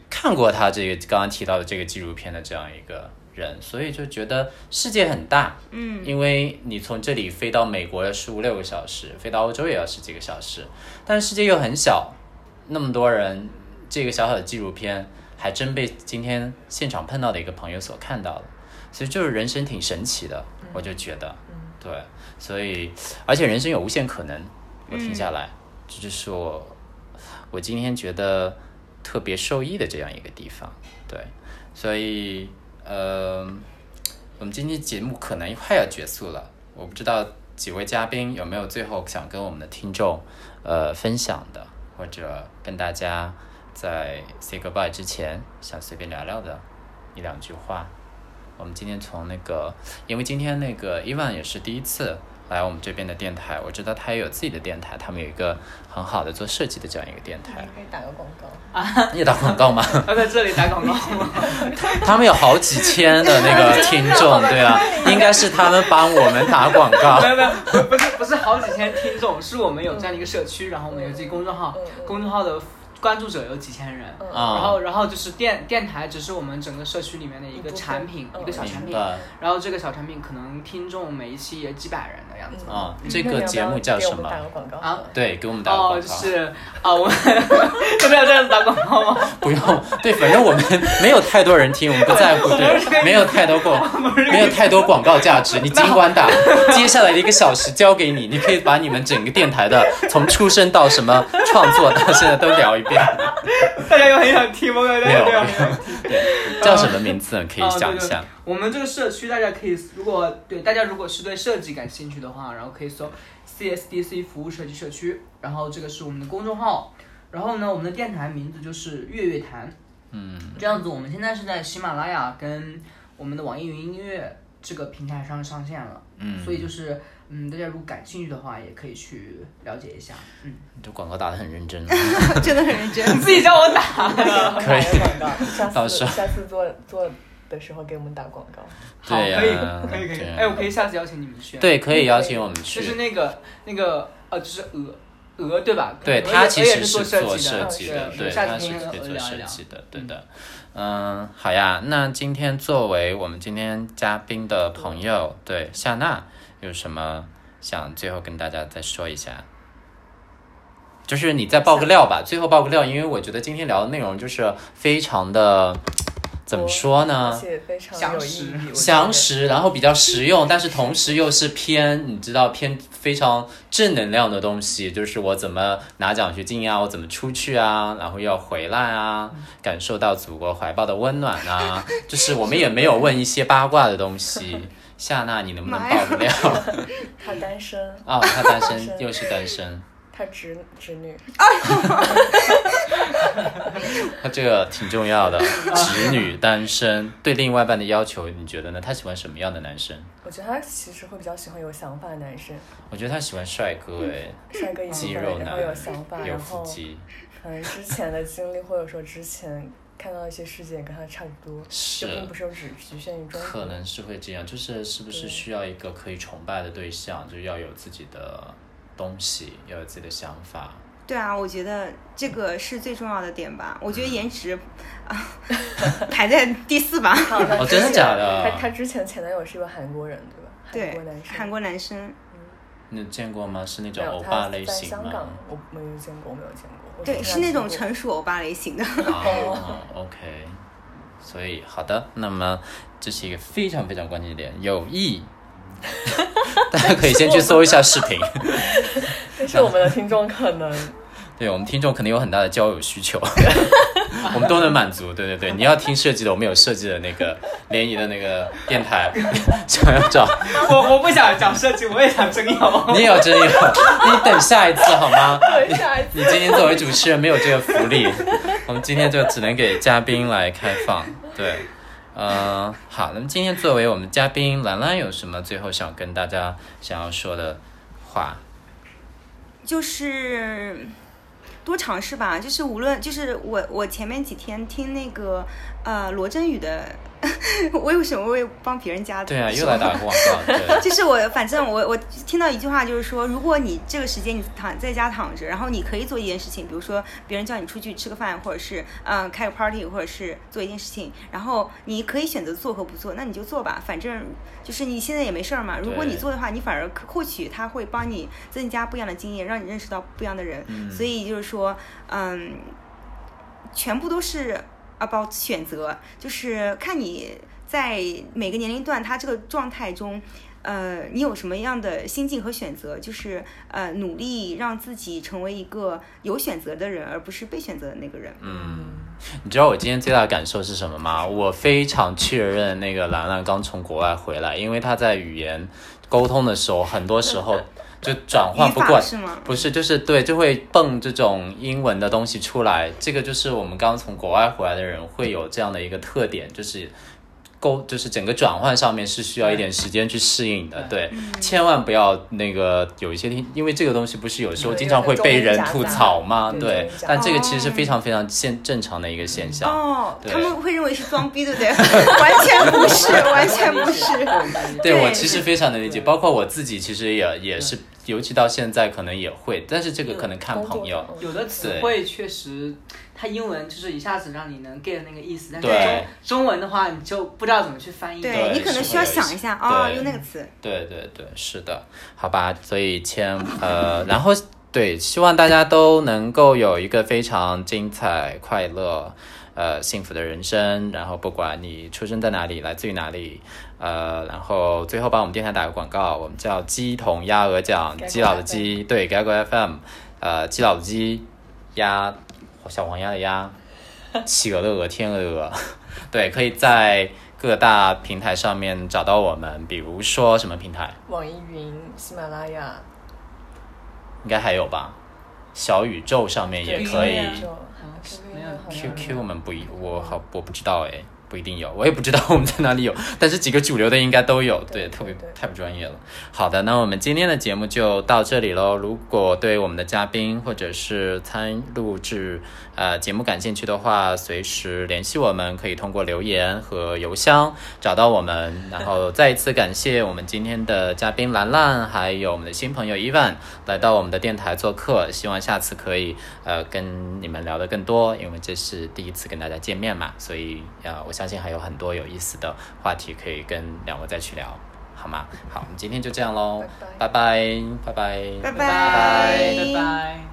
Speaker 1: 看过他这个刚刚提到的这个纪录片的这样一个人，所以就觉得世界很大。嗯，因为你从这里飞到美国要十五六个小时，飞到欧洲也要十几个小时，但是世界又很小，那么多人，这个小小的纪录片还真被今天现场碰到的一个朋友所看到了，所以就是人生挺神奇的，我就觉得，对，所以而且人生有无限可能，我听下来，这就是我我今天觉得特别受益的这样一个地方，对，所以呃，我们今天节目可能快要结束了，我不知道几位嘉宾有没有最后想跟我们的听众呃分享的，或者跟大家在 say goodbye 之前想随便聊聊的一两句话。我们今天从那个，因为今天那个伊万也是第一次来我们这边的电台，我知道他也有自己的电台，他们有一个很好的做设计的这样一个电台
Speaker 3: 还。可以打个广告。
Speaker 1: 你也打广告吗？
Speaker 2: 要在这里打广告吗？
Speaker 1: 他们有好几千的那个听众，对啊，应该是他们帮我们打广告
Speaker 2: 没。有没有，不是不是好几千听众，是我们有这样的一个社区，然后我们有自己公众号
Speaker 3: 嗯嗯，
Speaker 2: 公众号的关注者有几千人。
Speaker 1: 啊
Speaker 2: 然后，然后就是电电台，只是我们整个社区里面的一
Speaker 3: 一部
Speaker 2: 个
Speaker 3: 分
Speaker 2: 产品，
Speaker 3: 嗯
Speaker 2: 一个小产
Speaker 1: 明
Speaker 2: 品。
Speaker 1: 白
Speaker 2: 然后这个小产品可能听众每一期也几百人的样子。
Speaker 1: 啊，
Speaker 3: 嗯
Speaker 1: 这
Speaker 3: 那你
Speaker 1: 个
Speaker 3: 要不
Speaker 1: 节
Speaker 3: 要
Speaker 1: 目叫
Speaker 3: 给我
Speaker 1: 什
Speaker 3: 们
Speaker 1: 么
Speaker 3: 打？个广告
Speaker 2: 啊
Speaker 1: 对，给我们打个广告。
Speaker 2: 哦，就是啊，我们 真的要这样子打广告吗？
Speaker 1: 不用，对，反正我们没有太多人听，我们不在乎，对，没有太多广， 没有太多广告价值，你尽管 打。接下来的一个小时交给你，你可以把你们整个电台的从出生到什么创作到现在都聊一 遍。
Speaker 2: 大家有很想听吗？大
Speaker 1: 没
Speaker 2: 家
Speaker 1: 有，
Speaker 2: 有
Speaker 1: 没
Speaker 2: 很
Speaker 1: 有
Speaker 2: 想听。
Speaker 1: 对，叫什么名字？可以想一想。
Speaker 2: 我们这个社区，大家可以如果对大家如果是对设计感兴趣的话，然后可以搜 CSDC 服务设计社区，然后这个是我们的公众号，然后呢，我们的电台名字就是月月谈，嗯，这样子，我们现在是在喜马拉雅跟我们的网易云音乐这个平台上上线了，嗯，所以就是嗯，大家如果感兴趣的话，也可以去了解一下，嗯，
Speaker 1: 你这广告打得很认真啊。
Speaker 4: 真的很认真。
Speaker 2: 自己叫我打的，
Speaker 1: 可以
Speaker 3: 打个广告，下
Speaker 1: 到
Speaker 3: 次
Speaker 1: 时候
Speaker 3: 下次做做的时候给我们打广告。
Speaker 2: 好，
Speaker 1: 对呀
Speaker 2: 可以，可以，可以
Speaker 1: 对，呀
Speaker 2: 哎，我可以下次邀请你们去，
Speaker 1: 对，可以邀请我们去。
Speaker 2: 就是那个那个呃，就是鹅鹅对吧？
Speaker 1: 对
Speaker 2: 鹅
Speaker 1: 他
Speaker 2: 也
Speaker 1: 其
Speaker 2: 鹅也
Speaker 1: 实
Speaker 2: 是
Speaker 1: 做
Speaker 2: 设
Speaker 1: 设
Speaker 2: 计
Speaker 1: 计
Speaker 2: 的，
Speaker 1: 的，
Speaker 2: 是
Speaker 1: 对，
Speaker 2: 下
Speaker 1: 他
Speaker 2: 次
Speaker 1: 是
Speaker 2: 可以跟
Speaker 1: 可以
Speaker 2: 鹅
Speaker 1: 做
Speaker 2: 聊一
Speaker 1: 设
Speaker 2: 聊。
Speaker 1: 计的，对的。嗯，好呀，那今天作为我们今天嘉宾的朋友，对夏娜有什么想最后跟大家再说一下，就是你再爆个料吧，最后爆个料，因为我觉得今天聊的内容就是非常的，怎么说
Speaker 3: 而
Speaker 1: 呢？
Speaker 3: 且非常
Speaker 2: 详
Speaker 3: 有
Speaker 2: 实
Speaker 3: 意义。我觉得
Speaker 1: 详实，然后比较实用，但是同时又是偏，你知道偏非常正能量的东西，就是我怎么拿奖学金啊，我怎么出去啊，然后要回来 啊，感受到祖国怀抱的温暖啊，就是我们也没有问一些八卦的东西。夏娜，你能不能
Speaker 4: 妈
Speaker 1: 爆
Speaker 4: 呀
Speaker 1: 个料？
Speaker 3: 他单身，
Speaker 1: 啊、他单
Speaker 3: 单
Speaker 1: 身
Speaker 3: 身
Speaker 1: 又是单身，
Speaker 3: 他直直女，
Speaker 1: 他这个挺重要的。直女单身对另外一半的要求，你觉得呢？他喜欢什么样的男生？
Speaker 3: 我觉得他其实会比较喜欢有想法的男生，
Speaker 4: 嗯
Speaker 1: 我觉得他喜欢帅哥哎，
Speaker 3: 帅哥一
Speaker 1: 肌
Speaker 3: 部
Speaker 1: 肉
Speaker 3: 嗯分，然
Speaker 1: 男
Speaker 3: 后有想法，，
Speaker 1: 有
Speaker 3: 然
Speaker 1: 腹
Speaker 3: 后
Speaker 1: 肌，
Speaker 3: 可能之前的经历，或者说之前看到的一些事情跟他差不多，
Speaker 1: 是
Speaker 3: 就并不是说只局限于中国。
Speaker 1: 可能是会这样。就是是不是
Speaker 3: 对
Speaker 1: 需要一个可以崇拜的对象，就要有自己的东西，要有自己的想法。
Speaker 4: 对啊，我觉得这个是最重要的点吧。我觉得颜 值啊排在第四吧。
Speaker 3: 还有他
Speaker 1: 哦
Speaker 3: 之
Speaker 1: 真的
Speaker 3: 前
Speaker 1: 假的
Speaker 3: 他他之前前男友是一个韩国人，对吧？韩
Speaker 4: 对
Speaker 3: 国男，生。
Speaker 4: 韩国男生，
Speaker 1: 你有见过吗？是那
Speaker 3: 没
Speaker 1: 种
Speaker 3: 有
Speaker 1: 欧
Speaker 3: 他
Speaker 1: 巴
Speaker 3: 在
Speaker 1: 类型
Speaker 3: 香港
Speaker 1: 吗？，
Speaker 3: 我没有见过，我没有见过。我
Speaker 4: 对，
Speaker 3: 从来
Speaker 4: 是那种
Speaker 3: 没见过
Speaker 4: 成熟欧巴类型的。
Speaker 1: 哦，OK，所以好的，那么这是一个非常非常关键的点，有意。 大家可以先去搜一下视频，
Speaker 3: 但是我们的听众可能
Speaker 1: 对我们听众肯定有很大的交友需 求，我们都能满足。对对对，你要听设计的，我们有设计的那个联谊的那个电台，想要找
Speaker 2: 我我不想讲设计，我也想真有。
Speaker 1: 你也有真有，你等下一次好吗？
Speaker 3: 等下一次
Speaker 1: 你今天作为主持人没有这个福利，我们今天就只能给嘉宾来开放。对，呃，好，那么今天作为我们嘉宾兰兰有什么最后想跟大家想要说的话？
Speaker 4: 就是多尝试吧，就是无论就是我我前面几天听那个呃罗振宇的， 我为什么会帮别人加的？
Speaker 1: 对啊，又来打广告，对，
Speaker 4: 就是我，反正我我听到一句话，就是说，如果你这个时间你躺在家躺着，然后你可以做一件事情，比如说别人叫你出去吃个饭，或者是嗯、呃开个 party，或者是做一件事情，然后你可以选择做和不做，那你就做吧，反正就是你现在也没事儿嘛。如果你
Speaker 1: 对
Speaker 4: 做的话，你反而可或许他会帮你增加不一样的经验，让你认识到不一样的人。
Speaker 1: 嗯
Speaker 4: 所以就是说，嗯，全部都是 about 选择，就是看你在每个年龄段他这个状态中，呃，你有什么样的心境和选择，就是呃，努力让自己成为一个有选择的人，而不是被选择的那个人。
Speaker 1: 嗯。你知道我今天最大的感受是什么吗？我非常确认那个兰兰刚从国外回来，因为她在语言沟通的时候，很多时候就转换
Speaker 4: 语
Speaker 1: 不过
Speaker 4: 法
Speaker 1: 来，
Speaker 4: 是吗？
Speaker 1: 不是，就是对，就会蹦这种英文的东西出来。这个就是我们刚从国外回来的人会有这样的一个特点，就是沟，就是整个转换上面是需要一点时间去适应的。对，千万不要那个有一些听，因为这个东西不是有时候经常会被人吐槽吗？
Speaker 3: 对
Speaker 1: 对
Speaker 3: 中文夹杂，
Speaker 1: 但这个其实是非常非常现正常的一个现象。啊
Speaker 4: 哦，
Speaker 1: 对
Speaker 4: 他们会认为是装逼，对不对？完全不是， 完全不是。
Speaker 1: 对
Speaker 4: 对
Speaker 1: 我其实非常能理解，包括我自己其实也也是，尤其到现在可能也会，但是这个可能看朋友。
Speaker 2: 有的词汇确实，它英文就是一下子让你能 get 那个意思，但是
Speaker 1: 对
Speaker 2: 中中文的话，你就不知道怎么去翻译。
Speaker 1: 对
Speaker 4: 你可能
Speaker 1: 是
Speaker 4: 需要
Speaker 1: 会有一
Speaker 4: 想
Speaker 1: 些
Speaker 4: 一下啊、哦，
Speaker 1: 对
Speaker 4: 用那个词。
Speaker 1: 对对对，是的，好吧，所以千呃， 然后对，希望大家都能够有一个非常精彩、快乐、呃幸福的人生。然后不管你出生在哪里，来自于哪里，呃，然后最后帮我们电台打个广告，我们叫鸡同鸭鹅讲，
Speaker 3: 改革
Speaker 1: 基佬的鸡， 对，改革 FM，呃，基佬的鸡，鸭小黄鸭的鸭，企鹅的鹅，天鹅的鹅。 对，可以在各大平台上面找到我们，比如说什么平台，
Speaker 3: 网易云、喜马拉雅
Speaker 1: 应该还有吧？小宇宙上面也可以
Speaker 2: 对
Speaker 3: 就
Speaker 2: 没有
Speaker 3: 好像
Speaker 1: ，QQ 我们不一，我好我不知道哎，不一定有，我也不知道我们在哪里有， 但是几个主流的应该都有，对，
Speaker 3: 对
Speaker 1: 特别
Speaker 3: 对
Speaker 1: 太不专业了。好的，那我们今天的节目就到这里喽。如果对我们的嘉宾或者是参录制呃节目感兴趣的话，随时联系我们，可以通过留言和邮箱找到我们。然后再一次感谢我们今天的嘉宾兰兰，还有我们的新朋友伊万来到我们的电台做客，希望下次可以呃跟你们聊得更多，因为这是第一次跟大家见面嘛，所以呃我相信还有很多有意思的话题可以跟两位再去聊。好吗？好，我们今天就这样喽，
Speaker 3: 拜拜
Speaker 1: 拜拜，拜拜，
Speaker 4: 拜
Speaker 2: 拜
Speaker 4: 拜
Speaker 2: 拜拜。